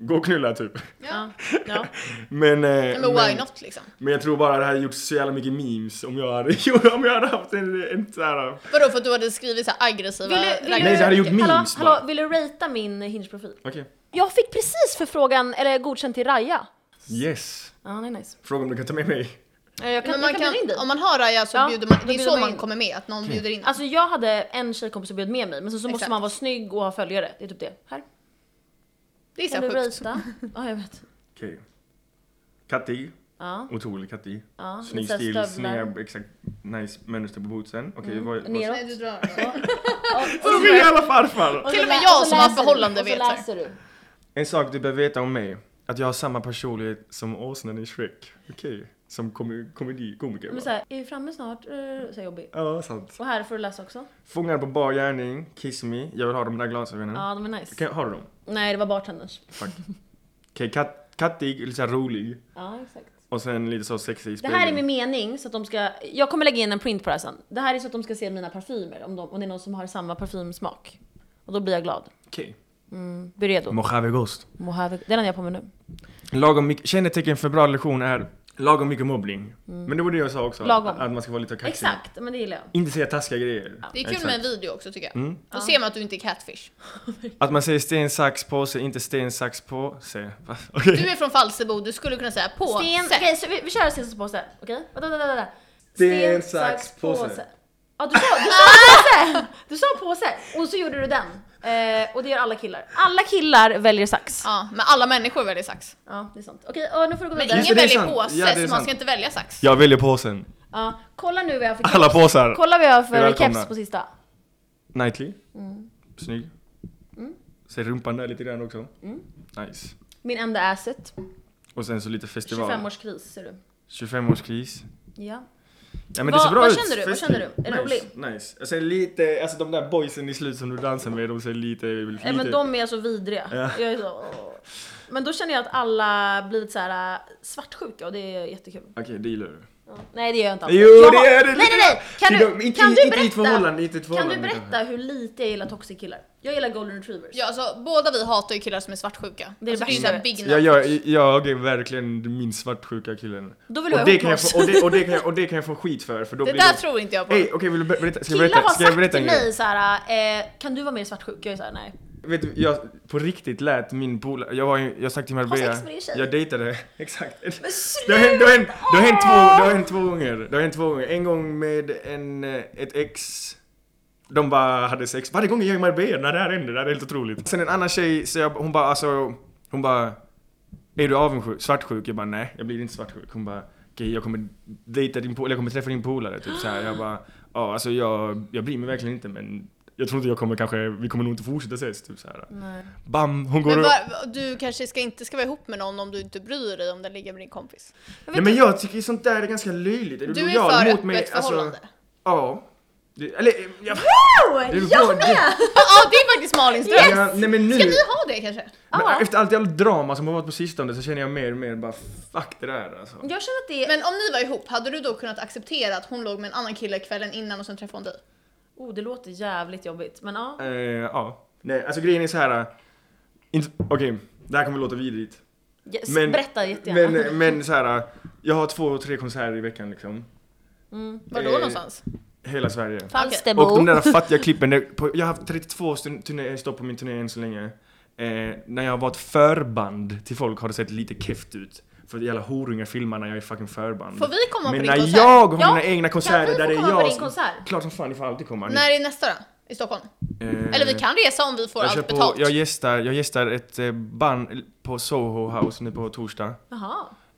Speaker 2: gå och knulla typ.
Speaker 1: Ja.
Speaker 3: Ja.
Speaker 2: Men, eh,
Speaker 1: Nej, men why not liksom?
Speaker 2: men jag tror bara det hade gjort så jävla mycket memes om jag hade, [LAUGHS] om jag hade haft en, en så här.
Speaker 1: Vadå för att du hade skrivit så här aggressiva
Speaker 3: Vill du, vill
Speaker 1: raggare-
Speaker 3: du,
Speaker 2: Nej, det hade gjort
Speaker 3: hallå,
Speaker 2: memes bara.
Speaker 3: hallå, vill du ratea min Hinge-profil?
Speaker 2: Okej.
Speaker 3: Jag fick precis förfrågan, eller godkänt till Raja.
Speaker 2: Yes.
Speaker 3: Ja, det är nice.
Speaker 2: Fråga om du kan ta med mig.
Speaker 3: Eh, Jag kan,
Speaker 1: Men
Speaker 3: jag
Speaker 1: man
Speaker 3: kan
Speaker 1: kan,
Speaker 3: bjuda in dig.
Speaker 1: om man har Raja så
Speaker 3: Ja,
Speaker 1: bjuder man,
Speaker 3: då
Speaker 1: det är
Speaker 3: bjuder
Speaker 1: så
Speaker 3: man
Speaker 1: man
Speaker 3: in.
Speaker 1: kommer med, att någon bjuder in.
Speaker 3: Alltså jag hade en tjejkompis som bjöd med mig, men så, så måste
Speaker 1: Exakt.
Speaker 3: man vara snygg och ha följare. Det är typ det. Här,
Speaker 1: det är så
Speaker 3: kan
Speaker 1: här
Speaker 3: du
Speaker 1: sjukt. [LAUGHS]
Speaker 3: ratea? Ja, jag vet.
Speaker 2: Okej. Katti.
Speaker 3: Ja.
Speaker 2: Otrolig Katti.
Speaker 3: Ja,
Speaker 2: Snygg
Speaker 3: lite
Speaker 2: stil,
Speaker 3: stövlar.
Speaker 2: snygga, exakt nice mönster på bootsen. Okej, vad, vad...
Speaker 3: Neråt.
Speaker 1: Nej, du drar den.
Speaker 2: Som min jävla farfar!
Speaker 1: Till och med
Speaker 3: lä-
Speaker 1: jag
Speaker 3: så
Speaker 1: som har
Speaker 3: läser
Speaker 1: förhållande
Speaker 3: du, och så
Speaker 1: vet så här.
Speaker 3: läser du.
Speaker 2: En sak du behöver veta om mig, att jag har samma personlighet som åsnan i Shrek. Okej, som kom- komedi, komiker.
Speaker 3: Men
Speaker 2: va?
Speaker 3: så här, är vi framme snart? Eh, Så här jobbig.
Speaker 2: Ja, sant.
Speaker 3: Och här får du läsa också.
Speaker 2: Fångar på bar gärning, kiss me. Jag vill ha de där glasögonen.
Speaker 3: Ja, de är nice.
Speaker 2: Kan, har du dem?
Speaker 3: Nej, det var bartenders. [LAUGHS]
Speaker 2: Fuck. Okej, kat- kattig, lite såhär rolig.
Speaker 3: Ja, exakt.
Speaker 2: Och sen lite så sexig i
Speaker 3: Det här är
Speaker 2: spegeln.
Speaker 3: min mening, så att de ska... Jag kommer lägga in en print på det här sen. Det här är så att de ska se mina parfymer, om, de, om det är någon som har samma parfymsmak. Och då blir jag glad.
Speaker 2: Okej.
Speaker 3: Bli Mm. redo.
Speaker 2: Mojave Ghost.
Speaker 3: Mojave. Det är den jag har på mig nu.
Speaker 2: Lagom mycket, kännetecken för bra relation är lagom mycket mobbning. Men det var det jag sa också.
Speaker 3: Mm. Lagom.
Speaker 2: Att, att man ska vara lite kaxig.
Speaker 3: Exakt, men det gillar [LAUGHS] jag.
Speaker 2: Inte säga taskiga grejer.
Speaker 1: Det är kul
Speaker 2: Exakt. Mm.
Speaker 1: med en video också tycker jag. Då ser man att du inte är catfish.
Speaker 2: Att man säger sten, sax, påse, inte sten, sax, påse. [LAUGHS] Va? Okej.
Speaker 1: Du är från Falsterbo, du skulle kunna säga på
Speaker 3: Sten,
Speaker 1: sätt.
Speaker 3: okej så vi, vi kör sten, sax, påse. Okej? Vänta, vänta, vänta.
Speaker 2: Sten, sax, påse.
Speaker 3: Ja, du sa, du sa påse! Du sa påse, och så gjorde du den. Eh, och det gör alla killar. Alla killar väljer sax.
Speaker 1: Ja, men alla människor väljer sax.
Speaker 3: Ja, det är sant. Okej, ja, nu får du gå
Speaker 1: Men
Speaker 3: vidare.
Speaker 2: Just det,
Speaker 1: ingen
Speaker 2: det är
Speaker 1: väljer
Speaker 2: sant.
Speaker 1: påse,
Speaker 2: Ja, det är
Speaker 1: så man
Speaker 2: sant.
Speaker 1: ska inte välja sax.
Speaker 2: Jag väljer påsen.
Speaker 3: Ja, kolla nu vad jag fick.
Speaker 2: Alla påsar.
Speaker 3: Kolla vad jag har för
Speaker 2: Välkomna.
Speaker 3: keps på sista.
Speaker 2: Nightly.
Speaker 3: Mm.
Speaker 2: Snygg. Ser rumpan där lite grann också.
Speaker 3: Mm.
Speaker 2: Nice.
Speaker 3: Min enda asset.
Speaker 2: Och sen så lite festival.
Speaker 3: 25-årskris ser du.
Speaker 2: 25-årskris.
Speaker 3: Ja.
Speaker 2: Ja, men
Speaker 3: Vad-
Speaker 2: det ser bra
Speaker 3: vad
Speaker 2: ut.
Speaker 3: känner du? Vad
Speaker 2: Festlig.
Speaker 3: känner du? Är det
Speaker 2: nice, Nice. Jag ser lite, alltså de där boysen i slut som du dansar med, de ser lite... lite.
Speaker 3: Nej, men de är så vidriga.
Speaker 2: typ. Ja.
Speaker 3: Jag är så, åh. Men då känner jag att alla blivit så här äh, svartsjuka och det är jättekul.
Speaker 2: Okej, det gillar du.
Speaker 3: Ja. Nej det gör jag inte alls.
Speaker 2: Jo,
Speaker 3: jag
Speaker 2: det gör du!
Speaker 3: Nej nej nej! Kan
Speaker 2: Inte-
Speaker 3: du,
Speaker 2: inte-
Speaker 3: kan du
Speaker 2: inte i ett förhållande, inte i ett
Speaker 3: berätta, kan du
Speaker 2: förhållande
Speaker 3: berätta hur lite jag gillar toxic killar? Jag gillar golden retrievers.
Speaker 1: Ja, alltså, båda vi hatar ju killar som är svartsjuka.
Speaker 3: Det är
Speaker 1: alltså,
Speaker 3: det
Speaker 1: ju
Speaker 3: värsta
Speaker 1: så här
Speaker 3: jag
Speaker 1: big
Speaker 2: Jag,
Speaker 1: no-
Speaker 2: jag, jag är verkligen min svartsjuka killen.
Speaker 3: Då vill
Speaker 2: och,
Speaker 3: jag
Speaker 2: det
Speaker 3: ihop
Speaker 2: kan jag
Speaker 3: oss.
Speaker 2: få, och, det, och, det kan jag, och det kan jag få skit för, för då
Speaker 1: Det
Speaker 2: blir
Speaker 1: där
Speaker 2: det...
Speaker 1: tror inte jag på.
Speaker 2: Hej, okej vill du ber- berätta? Ska jag
Speaker 3: Killar
Speaker 2: berätta?
Speaker 3: har
Speaker 2: Ska jag
Speaker 3: sagt
Speaker 2: berätta en
Speaker 3: till
Speaker 2: grej?
Speaker 3: mig såhär, eh, kan du vara mer svartsjuk? Jag är såhär, nej.
Speaker 2: Vet du, jag på riktigt lät min polare, jag var ju, jag stack till Marbella.
Speaker 3: sex med din tjej.
Speaker 2: Jag dejtade, [LAUGHS] exakt.
Speaker 3: Men
Speaker 2: Det har hänt, det har hänt, det har hänt, två, det har hänt två gånger. Det har hänt två gånger. En gång med en, eh, ett ex. De bara hade sex. Varje gång jag är i Marbella när det här händer, det här är helt otroligt. Sen en annan tjej, så jag, hon bara alltså, hon bara Är du avundsjuk? Svartsjuk? Jag bara nej, jag blir inte svartsjuk. Hon bara okej jag kommer dejta din polare, jag kommer träffa din polare typ så här. Jag bara ja alltså jag, jag bryr mig verkligen inte men jag tror inte jag kommer kanske, vi kommer nog inte fortsätta ses typ så här. Bam! Hon går
Speaker 1: Men
Speaker 2: och...
Speaker 1: va, du kanske ska inte ska vara ihop med någon om du inte bryr dig om den ligger med din kompis.
Speaker 2: Nej men jag tycker ju sånt där är ganska löjligt. Är du,
Speaker 1: Du är
Speaker 2: lojal
Speaker 1: för
Speaker 2: mot
Speaker 1: öppet
Speaker 2: mig? Alltså-
Speaker 1: förhållande.
Speaker 2: ja. Det- Eller jag...
Speaker 3: Oh,
Speaker 2: du
Speaker 3: jag
Speaker 2: bra?
Speaker 3: med!
Speaker 1: Ja, ah, det är faktiskt Malins dröm.
Speaker 2: Ja, nej men nu,
Speaker 1: Ska vi ha det kanske?
Speaker 2: men
Speaker 3: Ja.
Speaker 2: efter allt jävla drama som har varit på sistone så känner jag mer och mer bara fuck det där alltså.
Speaker 3: Jag känner att det är...
Speaker 1: Men om ni var ihop, hade du då kunnat acceptera att hon låg med en annan kille kvällen innan och sen träffade hon dig?
Speaker 3: Oh, det låter jävligt jobbigt. Men ja.
Speaker 2: Eh, ja. Nej alltså grejen är så här. äh, inte- Okej, det här kommer låta vidrigt.
Speaker 3: Yes,
Speaker 2: Men-
Speaker 3: berätta jättegärna.
Speaker 2: Men, eh, men så här. äh, jag har två, tre konserter i veckan liksom.
Speaker 1: Var då
Speaker 2: Eh,
Speaker 1: någonstans?
Speaker 2: Hela Sverige.
Speaker 3: Falsterbo.
Speaker 2: Och de
Speaker 3: [LAUGHS]
Speaker 2: där fattiga klippen, det- på, jag har haft 32 stun- turné- stopp på min turné än så länge. Eh, när jag var ett förband till folk har det sett lite keft ut. För att jävla horungar filmar när jag är fucking förband.
Speaker 1: Får vi komma
Speaker 2: Men
Speaker 1: på
Speaker 2: när
Speaker 1: din konsert?
Speaker 2: jag har
Speaker 3: Ja,
Speaker 2: mina egna
Speaker 3: Kan vi
Speaker 2: konserter
Speaker 3: få
Speaker 2: där det är
Speaker 3: komma på
Speaker 2: jag
Speaker 3: din
Speaker 2: som...
Speaker 3: konsert?
Speaker 2: Klart som fan ni får alltid komma. Ni-
Speaker 1: När är nästa då? I Stockholm?
Speaker 2: eh,
Speaker 1: Eller vi kan resa om vi får
Speaker 2: jag kör
Speaker 1: allt
Speaker 2: på,
Speaker 1: betalt.
Speaker 2: Jag gästar, jag gästar ett eh, band på Soho House nu på torsdag.
Speaker 3: Jaha.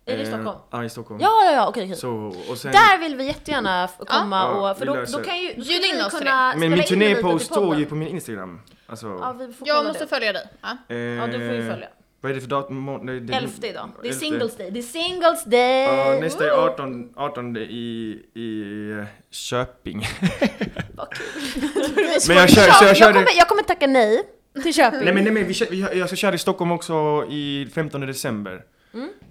Speaker 3: Är det i
Speaker 2: Eh,
Speaker 3: Stockholm?
Speaker 2: Ja, i Stockholm.
Speaker 3: Ja, ja, ja, okej, okej.
Speaker 2: Soho. Och sen...
Speaker 3: Där vill vi jättegärna f- komma
Speaker 2: Ja,
Speaker 3: och... För
Speaker 2: vi
Speaker 3: då,
Speaker 2: löser
Speaker 3: då
Speaker 2: det.
Speaker 3: kan ju... Då
Speaker 1: Bjud
Speaker 3: skulle
Speaker 1: in
Speaker 3: vi
Speaker 1: oss till
Speaker 3: kunna
Speaker 2: Men min
Speaker 3: spela in en liten
Speaker 2: turnépost
Speaker 3: till podden.
Speaker 2: står ju på min Instagram. Alltså...
Speaker 3: Ja, vi får
Speaker 1: jag
Speaker 3: kolla
Speaker 1: måste
Speaker 3: det.
Speaker 1: följa dig. Ja.
Speaker 2: eh,
Speaker 3: Ja, du får ju följa.
Speaker 2: Vad är det för datum? Må- nej, det är-
Speaker 3: Elfte idag. Det är
Speaker 2: elfte.
Speaker 3: singles day. Det är singles day!
Speaker 2: Ja, nästa är
Speaker 3: Woo!
Speaker 2: 18, 18 i, i eh, Köping. [LAUGHS] Men jag kör, så jag
Speaker 3: jag,
Speaker 2: kör det.
Speaker 3: kommer, jag kommer tacka nej till Köping.
Speaker 2: Nej men, nej, men vi kör, vi, jag ska köra i Stockholm också i 15 december.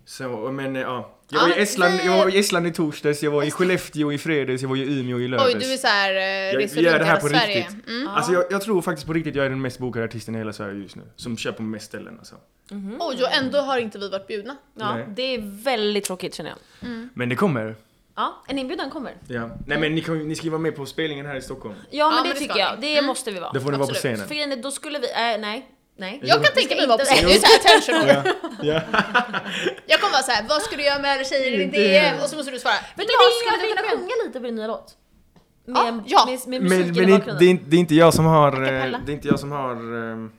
Speaker 2: Så, men eh, ja. Jag var
Speaker 1: Ja,
Speaker 2: i Estland,
Speaker 1: vi-
Speaker 2: jag var i Estland i torsdags, jag var i Skellefteå i fredags, jag var i Umeå i lördags.
Speaker 1: Oj, du är såhär,
Speaker 2: Jag
Speaker 1: reser
Speaker 2: gör
Speaker 1: runt
Speaker 2: det här
Speaker 1: hela
Speaker 2: på
Speaker 1: Sverige.
Speaker 2: riktigt.
Speaker 1: Mm.
Speaker 2: Alltså jag, jag tror faktiskt på riktigt jag är den mest bokade artisten i hela Sverige just nu. Som kör på mest ställen alltså.
Speaker 1: Oj, och ändå har inte vi varit bjudna.
Speaker 3: ja,
Speaker 2: Nej.
Speaker 3: det är väldigt tråkigt känner jag.
Speaker 2: Men det kommer.
Speaker 3: Ja, en inbjudan kommer.
Speaker 2: Ja. Nej men ni, kan, ju- ni ska ju vara med på spelningen här i Stockholm.
Speaker 3: Ja, men
Speaker 1: men
Speaker 3: det,
Speaker 1: det ska
Speaker 3: tycker
Speaker 1: vi.
Speaker 3: jag. Det måste vi Mm. vara.
Speaker 2: Då får ni vara på
Speaker 1: absolut.
Speaker 2: scenen.
Speaker 3: För grejen är, då skulle vi... Äh, nej. Nej.
Speaker 1: Jag kan tänka mig att vara på scenen, [LAUGHS] det är såhär attention.
Speaker 2: Ja. ja.
Speaker 1: [LAUGHS] Jag kommer vara såhär, vad ska du göra med alla tjejer i din
Speaker 2: Inte-
Speaker 1: DM? Och så måste du svara,
Speaker 3: Men
Speaker 1: vet
Speaker 3: du
Speaker 1: du vad,
Speaker 3: vad,
Speaker 1: skulle du
Speaker 3: skulle du kunna
Speaker 1: kunna
Speaker 3: sjunga lite på din nya låt? Med,
Speaker 1: Ja, ja.
Speaker 3: med, med
Speaker 2: Men,
Speaker 3: musiken
Speaker 2: men det,
Speaker 3: i
Speaker 2: det, är,
Speaker 3: bakgrunden.
Speaker 2: inte- det är inte jag som har, eh,
Speaker 3: Acapella.
Speaker 2: det är inte jag som har eh,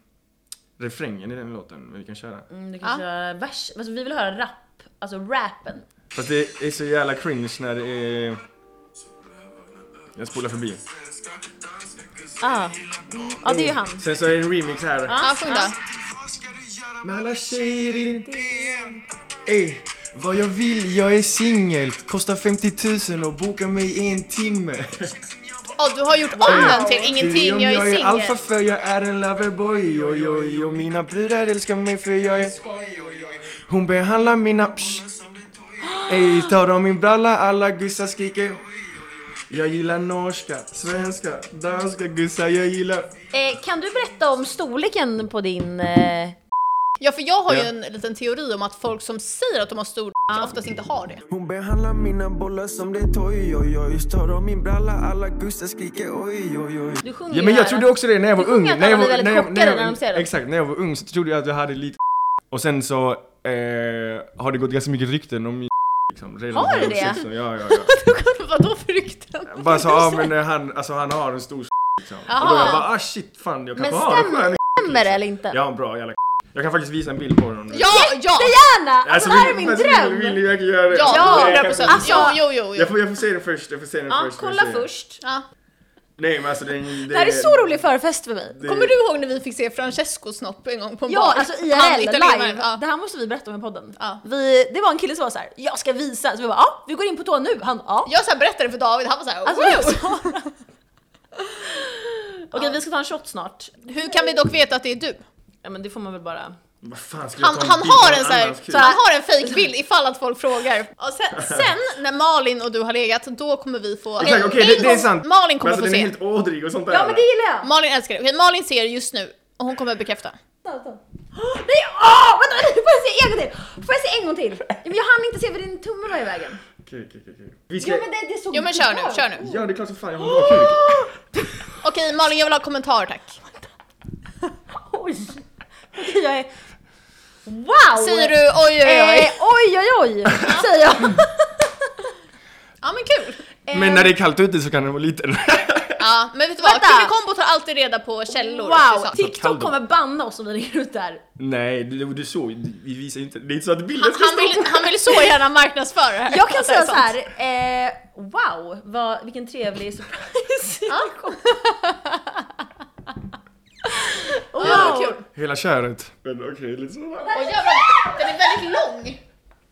Speaker 2: refrängen i den låten, men vi kan köra.
Speaker 3: Mm, du kan
Speaker 1: Ja.
Speaker 3: köra vers. Alltså, vi vill höra rap. Alltså rappen.
Speaker 2: Fast det är så jävla cringe när det är... Jag spolar förbi.
Speaker 3: Ah. Ja, det är ju han.
Speaker 2: Sen så är det en remix här.
Speaker 1: Ja, sjung då.
Speaker 2: Med alla tjejer i din DM. Ey, vad jag vill, jag är singel. Kostar 50 000 och boka mig i en timme.
Speaker 1: Ja, du har gjort om den till ingenting, jag
Speaker 2: jag
Speaker 1: är
Speaker 2: alfa
Speaker 1: singel.
Speaker 2: för jag är en loverboy. Oj, oj, och mina brudar älskar mig för jag är... Hon behandlar mina... Psh. Ey, tar de min bralla, alla gussar skriker. Jag gillar norska, svenska, danska gussar, jag gillar...
Speaker 3: Eh, kan du berätta om storleken på din... Eh...
Speaker 1: Ja, för jag har ju
Speaker 2: Ja.
Speaker 1: en liten teori om att folk som säger att de har stor [LAUGHS] oftast inte har det.
Speaker 4: Hon behandlar mina bollar som det är toy, oj, oj. Tar av min bralla, alla gussar skriker oj, oj, oj.
Speaker 3: Du sjunger
Speaker 2: Ja men
Speaker 3: ju
Speaker 2: jag
Speaker 3: här.
Speaker 2: trodde också det när jag
Speaker 3: Du
Speaker 2: var
Speaker 3: sjunger
Speaker 2: ung.
Speaker 3: att
Speaker 2: jag var,
Speaker 3: alla blir väldigt chockade när de ser det.
Speaker 2: Exakt, när jag var ung så trodde jag att jag hade lite Och sen så eh, har det gått ganska mycket rykten om min liksom, redan
Speaker 3: Har
Speaker 2: när jag
Speaker 3: det
Speaker 2: var
Speaker 3: det?
Speaker 2: sex år. Ja, ja,
Speaker 3: [LAUGHS]
Speaker 2: ja.
Speaker 1: Vadå för rykten?
Speaker 2: Bara så, ja men eh, han, alltså, han har en stor liksom. Och då
Speaker 1: Jaha.
Speaker 2: jag bara ah shit fan jag
Speaker 3: Men
Speaker 2: kanske har en
Speaker 3: stämmer-
Speaker 2: skön
Speaker 3: Stämmer det eller inte?
Speaker 2: Ja en bra jävla Jag kan faktiskt visa en bild på honom.
Speaker 1: Ja, ja!
Speaker 3: Jättegärna! Alltså, det här är
Speaker 2: vill-
Speaker 3: min
Speaker 2: alltså, Vill, vill
Speaker 3: dröm!
Speaker 2: ni verkligen göra det?
Speaker 1: Ja,
Speaker 2: Nej,
Speaker 1: 100
Speaker 2: jag
Speaker 1: procent.
Speaker 2: kan-
Speaker 3: Alltså-
Speaker 1: Jo, jo, jo. jo.
Speaker 2: Jag får, jag får se det först, jag får se den
Speaker 3: Ja,
Speaker 2: först. får jag
Speaker 3: kolla
Speaker 2: se.
Speaker 3: först.
Speaker 1: Ja.
Speaker 2: Nej men alltså det, det,
Speaker 3: Det här är så rolig förfest för mig.
Speaker 2: det-
Speaker 1: Kommer du ihåg när vi fick se Francesco snopp en gång på en
Speaker 3: Ja,
Speaker 1: bar?
Speaker 3: alltså
Speaker 1: Han
Speaker 3: IRL,
Speaker 1: italienaren,
Speaker 3: live.
Speaker 1: ja.
Speaker 3: Det här måste vi berätta om i podden.
Speaker 1: Ja.
Speaker 3: Vi, det var en kille som var så här: jag ska visa. Så vi bara, ja, vi går in på tå nu. Han, ja.
Speaker 1: Jag så här berättade för David, han var såhär
Speaker 3: Alltså,
Speaker 1: wow.
Speaker 3: Sara. [LAUGHS] Okej, vi ska ta en shot snart.
Speaker 1: Hur kan vi dock veta att det är du?
Speaker 3: Ja, men det får man väl bara...
Speaker 2: Vad fan ska jag
Speaker 1: Han,
Speaker 2: ta en
Speaker 1: han
Speaker 2: bild
Speaker 1: har
Speaker 2: på
Speaker 1: en så här,
Speaker 2: annans kuk?
Speaker 1: så han har en fejkbild ifall att folk frågar. Och sen, sen när Malin och du har legat, då kommer vi få...
Speaker 2: Exakt, Alltså, okej
Speaker 1: En
Speaker 2: det, det är
Speaker 1: gång-
Speaker 2: sant.
Speaker 1: Malin kommer
Speaker 2: men alltså,
Speaker 1: få
Speaker 2: den
Speaker 1: se.
Speaker 2: är helt ådrig och sånt där.
Speaker 3: Ja, men det gillar jag!
Speaker 1: Malin älskar det. Okej, Malin ser just nu och hon kommer bekräfta.
Speaker 3: Ta, ta. Nej, åh! Vänta, vänta, får jag se en gång till? Får jag se en gång till? Men jag hann inte se för din tumme var i vägen.
Speaker 2: Okej, okej, okej, okej. Vi ska...
Speaker 3: Jo men det, det såg
Speaker 1: Jo men kör nu, kör nu.
Speaker 2: Ja, det är klart som fan jag har en bra kuk.
Speaker 1: Okej Malin jag vill ha kommentarer tack.
Speaker 3: Oj! Okej, jag är... Wow!
Speaker 1: Säger du oj oj
Speaker 3: Eh,
Speaker 1: oj?
Speaker 3: oj, oj, oj, säger
Speaker 1: [LAUGHS]
Speaker 3: jag.
Speaker 1: Ja men kul.
Speaker 2: Men när det är kallt ute så kan den vara [LAUGHS] liten.
Speaker 1: Ja men vet du vad,
Speaker 3: Vänta.
Speaker 1: Killekombo tar alltid reda på källor. till
Speaker 3: Wow!
Speaker 1: saker.
Speaker 3: TikTok kommer banna oss om vi lägger ut
Speaker 1: [LAUGHS]
Speaker 3: det här.
Speaker 2: Nej, du, du såg du- Vi visar inte. Det är inte så att bilden
Speaker 1: Han,
Speaker 2: ska
Speaker 1: han, vill, han vill så gärna marknadsföra det här.
Speaker 3: Jag kan
Speaker 1: Att det är
Speaker 3: säga så
Speaker 1: sant.
Speaker 3: här. Eh, wow, vad, vilken
Speaker 1: [LAUGHS]
Speaker 3: trevlig surprise. [LAUGHS] wow.
Speaker 1: Ja, det var kul.
Speaker 2: Hela köret. Men okej, lite så.
Speaker 1: Och jävlar, den är väldigt lång.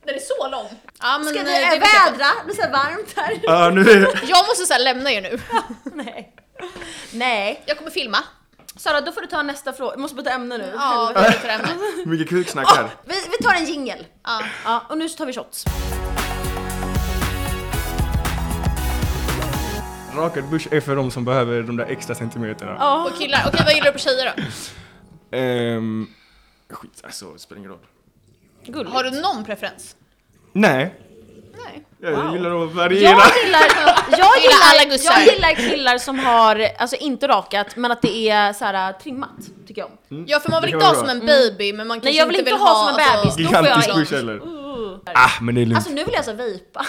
Speaker 1: Den är så lång. Ja, men,
Speaker 3: Ska
Speaker 1: eh,
Speaker 3: vi
Speaker 1: det är
Speaker 3: eh, vädra? Det blir så här varmt
Speaker 1: [LAUGHS]
Speaker 3: här.
Speaker 2: Ja, nu är det...
Speaker 1: Jag måste så här, lämna er nu.
Speaker 3: [LAUGHS] Nej. Nej.
Speaker 1: [LAUGHS] Jag kommer filma.
Speaker 3: Sara, då får du ta nästa fråga. Vi måste byta ämne nu.
Speaker 1: Ja,
Speaker 3: Helvete.
Speaker 1: vi [LAUGHS] byter ämne.
Speaker 2: Mycket kuksnack
Speaker 3: Åh,
Speaker 2: här.
Speaker 3: vi, vi tar en jingel.
Speaker 1: Ja.
Speaker 3: Ja, och nu så tar vi shots.
Speaker 2: Rakad bush är för de som behöver de där extra centimeterna.
Speaker 3: Ja.
Speaker 1: Och killar, okej vad gillar du på tjejer då?
Speaker 2: Ehm... Skit, alltså det spelar ingen roll.
Speaker 3: Gulligt.
Speaker 1: Har du någon preferens?
Speaker 2: Nej.
Speaker 1: Nej.
Speaker 2: Jag
Speaker 3: Wow.
Speaker 2: gillar att variera.
Speaker 3: Jag
Speaker 1: [LAUGHS]
Speaker 3: gillar, jag,
Speaker 1: alla
Speaker 3: gillar,
Speaker 1: gussar.
Speaker 3: jag gillar killar som har, alltså inte rakat, men att det är så här äh, trimmat, tycker jag om.
Speaker 1: Ja för man vill
Speaker 2: Det kan
Speaker 1: inte ha
Speaker 2: vara
Speaker 1: som en baby men man kanske
Speaker 3: Nej jag vill inte ha som en bebis,
Speaker 1: alltså-
Speaker 3: då får jag
Speaker 2: Gigantisk
Speaker 3: in.
Speaker 2: bush eller?
Speaker 1: Mm.
Speaker 3: Uh.
Speaker 2: Ah, men det är lugnt.
Speaker 3: Alltså nu vill jag
Speaker 1: [LAUGHS]
Speaker 3: så vejpa.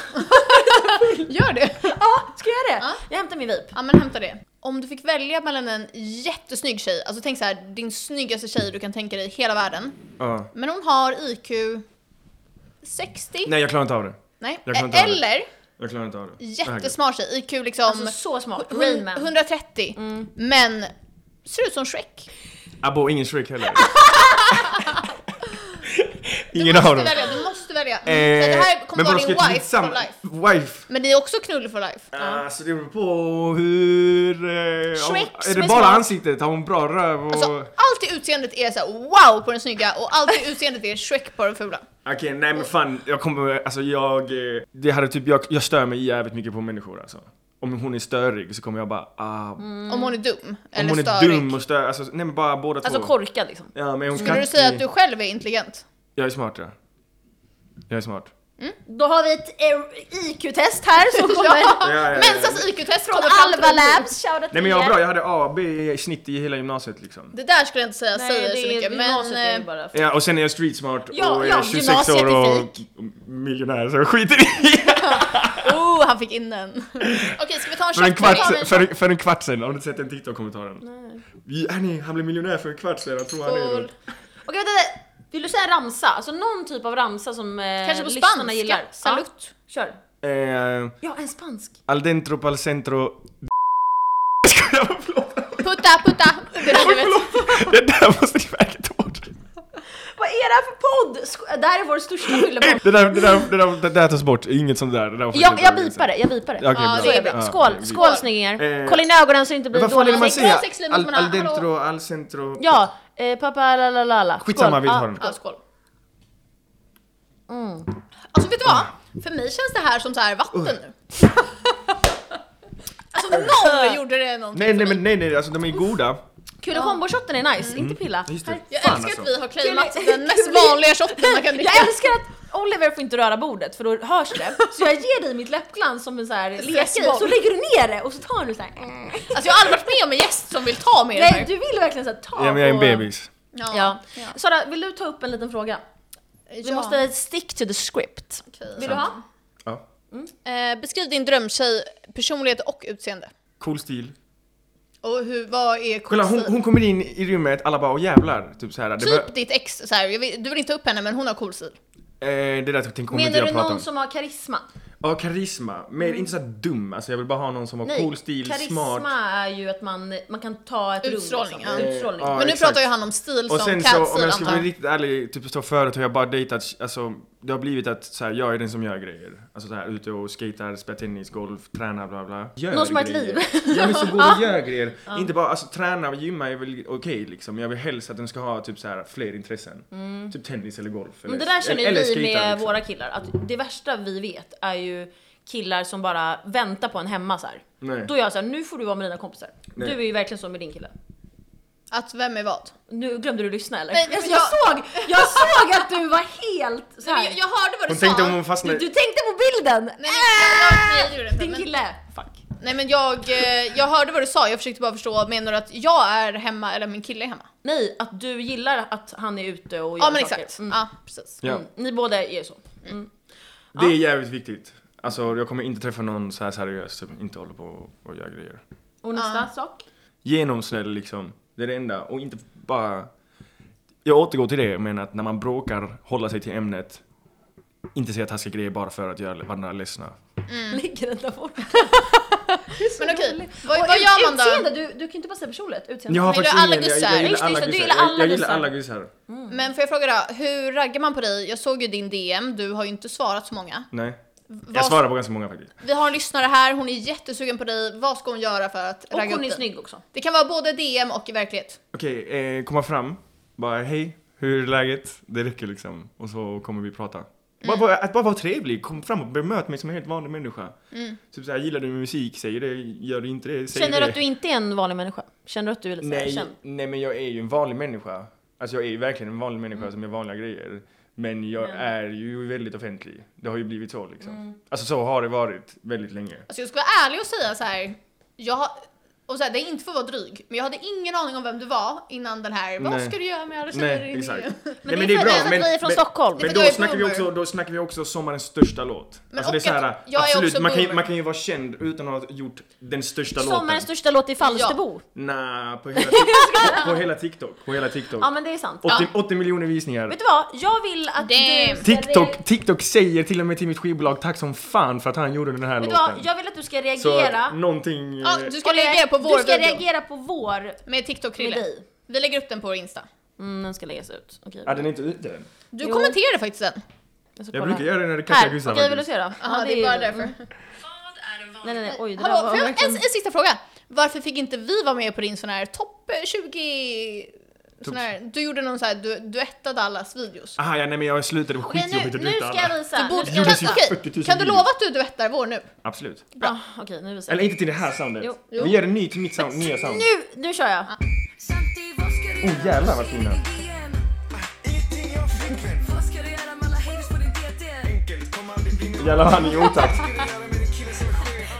Speaker 1: Gör det!
Speaker 3: ja, ska jag göra det?
Speaker 1: Ja.
Speaker 3: Jag hämtar min vejp.
Speaker 1: Ja men hämta det. Om du fick välja mellan en jättesnygg tjej, alltså tänk så här, din snyggaste tjej du kan tänka dig i hela världen.
Speaker 2: Ja.
Speaker 1: Men hon har IQ 60?
Speaker 2: Nej, jag klarar inte av det.
Speaker 1: Nej. Eh,
Speaker 2: jag kan inte ha det.
Speaker 1: Eller
Speaker 2: Jag klarar inte av det.
Speaker 1: jättesmart tjej, IQ liksom
Speaker 3: Alltså så smart,
Speaker 1: hun-
Speaker 3: Rain Man. Mm.
Speaker 1: 130.
Speaker 2: Mm.
Speaker 1: Men ser ut som Shrek.
Speaker 2: Abo, ingen Shrek heller.
Speaker 1: [LAUGHS] Du
Speaker 2: Ingen
Speaker 1: måste
Speaker 2: av dem.
Speaker 1: välja, du måste välja.
Speaker 2: Eh,
Speaker 1: Nej, det här kommer vara
Speaker 2: men vadå,
Speaker 1: din
Speaker 2: ska jag
Speaker 1: wife for
Speaker 2: tillsammans-
Speaker 1: life.
Speaker 2: Wife?
Speaker 1: Men det är också knull for life.
Speaker 2: Alltså det beror på hur... Eh, om,
Speaker 3: Shrek
Speaker 2: är
Speaker 3: som
Speaker 2: det bara
Speaker 3: är smart.
Speaker 2: ansiktet? Har hon bra röv och...
Speaker 1: Alltså, allt i utseendet är så här, wow på den snygga och allt i utseendet är Shrek på den fula.
Speaker 2: Okej, nej men fan, jag kommer, alltså jag, eh, det hade typ, jag, jag stör mig jävligt mycket på människor alltså. Om hon är störig så kommer jag bara, ah,
Speaker 3: Mm.
Speaker 1: Om hon är dum
Speaker 2: om
Speaker 1: Mm, eller
Speaker 2: hon är
Speaker 1: störig.
Speaker 2: dum och störig, alltså nej men bara båda
Speaker 3: Alltså
Speaker 2: två.
Speaker 3: korkad liksom.
Speaker 2: Ja men är hon
Speaker 1: Skulle du säga att du själv är intelligent?
Speaker 3: [LAUGHS]
Speaker 2: Jag är smart ja. Jag är smart.
Speaker 3: Då har vi ett eh, IQ-test
Speaker 1: [LAUGHS]
Speaker 3: här som kommer.
Speaker 2: Ja, ja, ja.
Speaker 1: Mensas IQ-test
Speaker 3: Från
Speaker 1: kommer fram till
Speaker 3: Alva
Speaker 1: en tid.
Speaker 3: Labs, shoutout
Speaker 2: Nej men jag var bra, jag hade A, B i snitt i hela gymnasiet liksom.
Speaker 1: Det där skulle jag inte säga
Speaker 3: Nej,
Speaker 1: säger så
Speaker 3: det är
Speaker 1: mycket men...
Speaker 3: gymnasiet är ju
Speaker 1: eh,
Speaker 3: bara för...
Speaker 2: Ja och sen är jag street smart
Speaker 3: Ja,
Speaker 2: och är
Speaker 3: ja,
Speaker 2: 26
Speaker 3: gymnasiet
Speaker 2: år
Speaker 3: är
Speaker 2: och miljonär så jag skiter i
Speaker 1: Oh, han fick in
Speaker 2: [LAUGHS]
Speaker 1: den. Okej, ska vi ta en
Speaker 2: för en,
Speaker 1: chatt? Ska vi ta
Speaker 2: kvart,
Speaker 1: en
Speaker 2: för,
Speaker 1: chatt?
Speaker 2: en- för en kvart sen, har du inte sett den TikTok-kommentaren? Vi- Hörni, han blev miljonär för en kvart sen, jag tror han är det.
Speaker 1: Cool.
Speaker 3: Okej vänta, vill du säga ramsa? Alltså någon typ av ramsa som eh,
Speaker 1: Kanske på
Speaker 3: lyssnarna
Speaker 1: spanska?
Speaker 3: gillar? Ja,
Speaker 1: Salut.
Speaker 3: Kör.
Speaker 2: Eh,
Speaker 3: Ja, en spansk.
Speaker 2: Al dentro pal centro
Speaker 1: Putta, putta! Det
Speaker 2: [LAUGHS]
Speaker 1: där, du vet.
Speaker 2: Det där måste ni verkligen ta bort!
Speaker 3: Vad är det här för podd? Sk- Det här är vår [LAUGHS] största fyllepodd.
Speaker 2: Det där, det där, det där, det där tas bort, inget sånt där. Det där får
Speaker 3: Jag,
Speaker 2: inte-
Speaker 3: jag bipar det, jag bipar det.
Speaker 2: Ja, okej,
Speaker 1: Ja,
Speaker 2: bra.
Speaker 1: det är
Speaker 2: Ja,
Speaker 1: bra.
Speaker 3: Skål,
Speaker 2: okej,
Speaker 3: skål
Speaker 1: vi-
Speaker 3: snyggingar.
Speaker 2: Eh,
Speaker 3: Kolla in i ögonen så det inte blir
Speaker 2: Vad fan är det man
Speaker 3: dålig
Speaker 1: Sex-
Speaker 2: säger?
Speaker 1: sexliv mot
Speaker 2: Al,
Speaker 1: varandra.
Speaker 2: al dentro, al centro...
Speaker 3: Ja, eh, pappa la la la la. Skål.
Speaker 2: Skitsamma, vi
Speaker 3: Ja. Mm.
Speaker 2: tar den.
Speaker 1: Ja, skål. Alltså vet du vad? För mig känns det här som så här vatten
Speaker 3: [LAUGHS]
Speaker 1: nu. alltså noll gjorde det någonting
Speaker 2: Nej, nej,
Speaker 1: för mig.
Speaker 2: men nej, nej, alltså de är goda.
Speaker 3: Kul och kombo-shotten är nice, inte pilla.
Speaker 2: Just det.
Speaker 1: Jag
Speaker 2: Fan,
Speaker 1: älskar
Speaker 2: alltså.
Speaker 1: att vi har claimat
Speaker 3: Kul-
Speaker 1: den mest
Speaker 3: kul-
Speaker 1: vanliga shotten
Speaker 3: [LAUGHS]
Speaker 1: man kan dricka.
Speaker 3: Jag älskar att Oliver får inte röra bordet för då hörs det. Så jag ger dig mitt läppglans som en så här lekgrej,
Speaker 1: Stressboll.
Speaker 3: så lägger du ner det och så tar du så här. eh.
Speaker 1: Alltså jag har aldrig varit med om en gäst som vill ta med det
Speaker 3: Nej,
Speaker 1: här.
Speaker 3: du vill verkligen så här ta
Speaker 2: Ja, men jag är en
Speaker 3: på-
Speaker 2: bebis.
Speaker 3: Ja. Sara, vill du ta upp en liten fråga? Vi
Speaker 1: Ja.
Speaker 3: måste stick to the script.
Speaker 1: Okej.
Speaker 3: Vill du ha?
Speaker 2: Ja.
Speaker 1: Eh, beskriv din drömtjej, personlighet och utseende.
Speaker 2: Cool stil.
Speaker 1: Och hur, vad är
Speaker 2: Kolla, hon,
Speaker 1: stil?
Speaker 2: hon kommer in i rummet, alla bara åh jävlar. Typ så här. Det,
Speaker 1: Typ ditt ex, så här, jag vet, du vill inte ta upp henne men hon har cool stil.
Speaker 2: var- eh, det där tänker hon inte
Speaker 3: Menar du
Speaker 2: jag prata
Speaker 3: någon
Speaker 2: om.
Speaker 3: som har karisma?
Speaker 2: Ja, karisma. Men inte så här dum, alltså jag vill bara ha någon som har
Speaker 3: Nej,
Speaker 2: cool stil,
Speaker 3: karisma
Speaker 2: smart.
Speaker 3: är ju att man, man kan ta ett
Speaker 1: Utstrålning,
Speaker 3: rum. liksom.
Speaker 1: ja.
Speaker 3: Utstrålning.
Speaker 2: Ja,
Speaker 1: men nu
Speaker 2: exakt.
Speaker 1: pratar ju han om stil
Speaker 2: Och
Speaker 1: som
Speaker 2: sen så, om
Speaker 1: cat-stil
Speaker 2: jag ska
Speaker 1: antar
Speaker 2: vara
Speaker 1: jag.
Speaker 2: riktigt ärlig, typ så förut har jag bara dejtat, alltså det har blivit att så här, jag är den som gör grejer. Alltså så här, ute och skater, spelar tennis, golf, tränar, bla bla. Gör
Speaker 3: Någon som har ett
Speaker 2: grejer.
Speaker 3: liv.
Speaker 2: Jag vill så
Speaker 3: [LAUGHS]
Speaker 2: gå och göra grejer. Inte bara, alltså träna och gymma är väl okej liksom, men jag vill helst att den ska ha typ så här fler intressen. Typ tennis eller golf. Eller,
Speaker 3: Mm. Men det där känner ju
Speaker 2: eller
Speaker 3: vi
Speaker 2: skater,
Speaker 3: med
Speaker 2: liksom.
Speaker 3: våra killar, att det värsta vi vet är ju killar som bara väntar på en hemma så här.
Speaker 2: Nej.
Speaker 3: Då är jag såhär, nu får du vara med dina kompisar.
Speaker 2: Nej.
Speaker 3: Du är ju verkligen så med din kille.
Speaker 1: Att vem är vad?
Speaker 3: Nu glömde du lyssna eller?
Speaker 1: Nej, men
Speaker 3: alltså, jag,
Speaker 1: jag-
Speaker 3: såg, jag såg att du var helt så
Speaker 1: Nej, men
Speaker 3: här.
Speaker 1: jag, jag hörde vad du
Speaker 2: Hon
Speaker 1: sa.
Speaker 2: tänkte om hon
Speaker 3: du,
Speaker 2: fastnade...
Speaker 3: du tänkte på bilden!
Speaker 1: Nej, men, jag, nej, det gjorde jag inte,
Speaker 3: Din
Speaker 1: men,
Speaker 3: kille! Fuck.
Speaker 1: nej men jag, eh, jag hörde vad du sa, jag försökte bara förstå, menar du att jag är hemma eller min kille är hemma?
Speaker 3: Nej, att du gillar att han är ute och gör
Speaker 1: Ja men
Speaker 3: saker.
Speaker 1: exakt,
Speaker 3: Mm.
Speaker 1: ja precis.
Speaker 2: Ja,
Speaker 3: Mm. Ni båda är så. Mm.
Speaker 2: det är jävligt viktigt. Alltså jag kommer inte träffa någon så här seriös som inte håller på och- och gör grejer.
Speaker 3: Och nästa sak?
Speaker 2: genomsnäll liksom. Det är det enda. Och inte bara... Jag återgår till det, men att när man bråkar, hålla sig till ämnet. Inte säga taskiga grejer bara för att göra varandra ledsna.
Speaker 3: Ligger den
Speaker 1: [LAUGHS]
Speaker 3: där borta?
Speaker 1: Mm. Men okej, vad,
Speaker 3: Och
Speaker 1: vad
Speaker 3: ut-
Speaker 1: gör man då?
Speaker 3: Utseende, du, du kan inte bara säga personlighet. Utseende.
Speaker 2: Jag har
Speaker 1: Men
Speaker 2: faktiskt
Speaker 1: du är alla
Speaker 2: ingen... Jag, jag,
Speaker 1: gussar.
Speaker 2: gillar
Speaker 3: Just det,
Speaker 2: alla
Speaker 3: just det,
Speaker 2: gussar.
Speaker 3: du gillar
Speaker 2: Jag,
Speaker 3: alla
Speaker 2: jag gillar
Speaker 3: gussar.
Speaker 2: alla gussar.
Speaker 3: Mm.
Speaker 1: Men får jag fråga då, hur raggar man på dig? Jag såg ju din DM, du har ju inte svarat så många.
Speaker 2: Nej. Jag
Speaker 1: Vad-
Speaker 2: svarar på ganska många faktiskt.
Speaker 1: Vi har en lyssnare här, hon är jättesugen på dig. Vad ska hon göra för att
Speaker 3: Och
Speaker 1: ragga
Speaker 3: hon är
Speaker 1: upp dig?
Speaker 3: snygg också.
Speaker 1: Det kan vara både DM och i verklighet.
Speaker 2: Okej, eh, komma fram. Bara hej, hur är läget? Det räcker liksom. Och så kommer vi prata. Bara, bara, att bara vara trevlig, kom fram och bemöt mig som en helt vanlig människa. Typ såhär, gillar du min musik? Säg det, gör du inte det? Säg
Speaker 3: Känner
Speaker 2: det.
Speaker 3: du att du inte är en vanlig människa? Känner du att du är lite såhär
Speaker 2: Nej,
Speaker 3: känd?
Speaker 2: nej men jag är ju en vanlig människa. Alltså jag är ju verkligen en vanlig
Speaker 1: Mm.
Speaker 2: människa som gör vanliga grejer. Men jag är ju väldigt offentlig. Det har ju blivit så liksom.
Speaker 1: Mm.
Speaker 2: Alltså så har det varit väldigt länge.
Speaker 1: Alltså jag ska vara ärlig och säga så här. Jag har, och så här, det är inte för att vara dryg, men jag hade ingen aning om vem du var innan den här, vad
Speaker 2: Nej.
Speaker 1: ska du göra med alla tjejer i
Speaker 2: Nej,
Speaker 1: din [LAUGHS]
Speaker 2: exakt.
Speaker 1: DM?
Speaker 2: nej,
Speaker 3: det är för att vi är från Stockholm.
Speaker 1: Det är
Speaker 2: Men
Speaker 1: för
Speaker 2: då
Speaker 1: att jag är
Speaker 2: snackar, vi
Speaker 1: boomer.
Speaker 2: också, då snackar vi också sommarens största låt.
Speaker 1: Men
Speaker 2: alltså det är
Speaker 1: och
Speaker 2: så här,
Speaker 1: att jag är också
Speaker 2: absolut, man kan, ju-
Speaker 1: boomer.
Speaker 2: man kan ju vara känd utan att ha gjort den största låten.
Speaker 3: Sommarens största låt i Falsterbo. Ja.
Speaker 2: Nja, på, hela
Speaker 1: [LAUGHS]
Speaker 2: Tik- på hela TikTok. På hela TikTok.
Speaker 3: men det är sant.
Speaker 2: 80, 80 miljoner visningar.
Speaker 3: Vet du vad? Jag vill att du
Speaker 1: Damn.
Speaker 3: ska
Speaker 2: TikTok,
Speaker 3: rea-
Speaker 2: TikTok säger till och med till mitt skivbolag tack som fan för att han gjorde den här
Speaker 3: Vet du
Speaker 2: låten.
Speaker 3: vad? Jag vill att du ska
Speaker 2: Så
Speaker 3: reagera.
Speaker 2: att någonting...
Speaker 1: Ja,
Speaker 2: eh,
Speaker 1: du ska reagera på vår
Speaker 3: Du ska
Speaker 1: video
Speaker 3: reagera på vår
Speaker 1: med Tiktok
Speaker 3: med
Speaker 1: Krille.
Speaker 3: dig.
Speaker 1: Vi lägger upp den på vår Insta.
Speaker 3: Mm, den ska läggas ut. Okej.
Speaker 2: Ja, den är inte ute än.
Speaker 1: Du
Speaker 3: Jo.
Speaker 1: kommenterade faktiskt den.
Speaker 3: ska
Speaker 2: Jag
Speaker 3: kolla.
Speaker 2: brukar göra det när det
Speaker 3: Här,
Speaker 2: kackar
Speaker 3: okej
Speaker 2: Gustav
Speaker 3: vill du
Speaker 2: faktiskt.
Speaker 3: se då?
Speaker 1: Jaha,
Speaker 3: Ja,
Speaker 1: det är bara
Speaker 3: ju-
Speaker 1: därför.
Speaker 3: Nej nej nej, Mm. oj det där
Speaker 1: Hallå,
Speaker 3: var
Speaker 1: får jag en,
Speaker 3: verkligen...
Speaker 1: en sista fråga? Varför fick inte vi vara med på din sån här topp 20... Sån här, du gjorde någon sån här du, duettade allas videos.
Speaker 2: Aha, ja, nej men jag slutade, det var
Speaker 3: Okej,
Speaker 2: skitjobbigt
Speaker 3: nu,
Speaker 2: att
Speaker 3: nu
Speaker 2: byta
Speaker 3: ska jag
Speaker 2: alla.
Speaker 3: visa.
Speaker 1: Du borde,
Speaker 3: Nu
Speaker 1: kan,
Speaker 3: ska
Speaker 2: gjordes ju
Speaker 1: okej,
Speaker 2: 40 000
Speaker 1: kan du
Speaker 2: videos.
Speaker 1: lova att du duettar vår nu?
Speaker 2: Absolut.
Speaker 3: jag- Ah, Okej, nu visar
Speaker 2: Eller
Speaker 3: jag.
Speaker 2: inte till det här soundet.
Speaker 3: Jo.
Speaker 1: Jo.
Speaker 2: Vi gör en ny till mitt sound, nya sound.
Speaker 3: Nu, nu kör jag!
Speaker 2: Oh jävlar vad fina.
Speaker 4: Ingenting jag fick men enkelt kommer aldrig bli något.
Speaker 2: Jävlar vad han är i otakt.
Speaker 4: Vad ska du göra med en kille som är chef?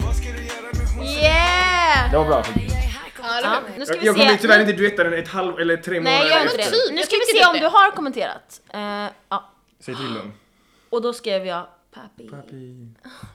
Speaker 4: Vad ska du göra med hon
Speaker 1: Yeah!
Speaker 2: Det var bra faktiskt.
Speaker 1: Ja, eller
Speaker 3: Ja,
Speaker 1: hur?
Speaker 3: nu ska
Speaker 2: Jag,
Speaker 3: vi
Speaker 2: jag kommer
Speaker 3: se.
Speaker 2: tyvärr inte duetta den ett halv eller tre månader
Speaker 3: Nej, gör inte
Speaker 2: efter.
Speaker 1: efter.
Speaker 3: det.
Speaker 1: Typ,
Speaker 3: Nu
Speaker 1: jag
Speaker 3: ska vi
Speaker 1: tycker
Speaker 3: se om
Speaker 1: det.
Speaker 3: du har kommenterat. Eh, ja.
Speaker 2: Säg till dem.
Speaker 3: Och då skrev jag Papi.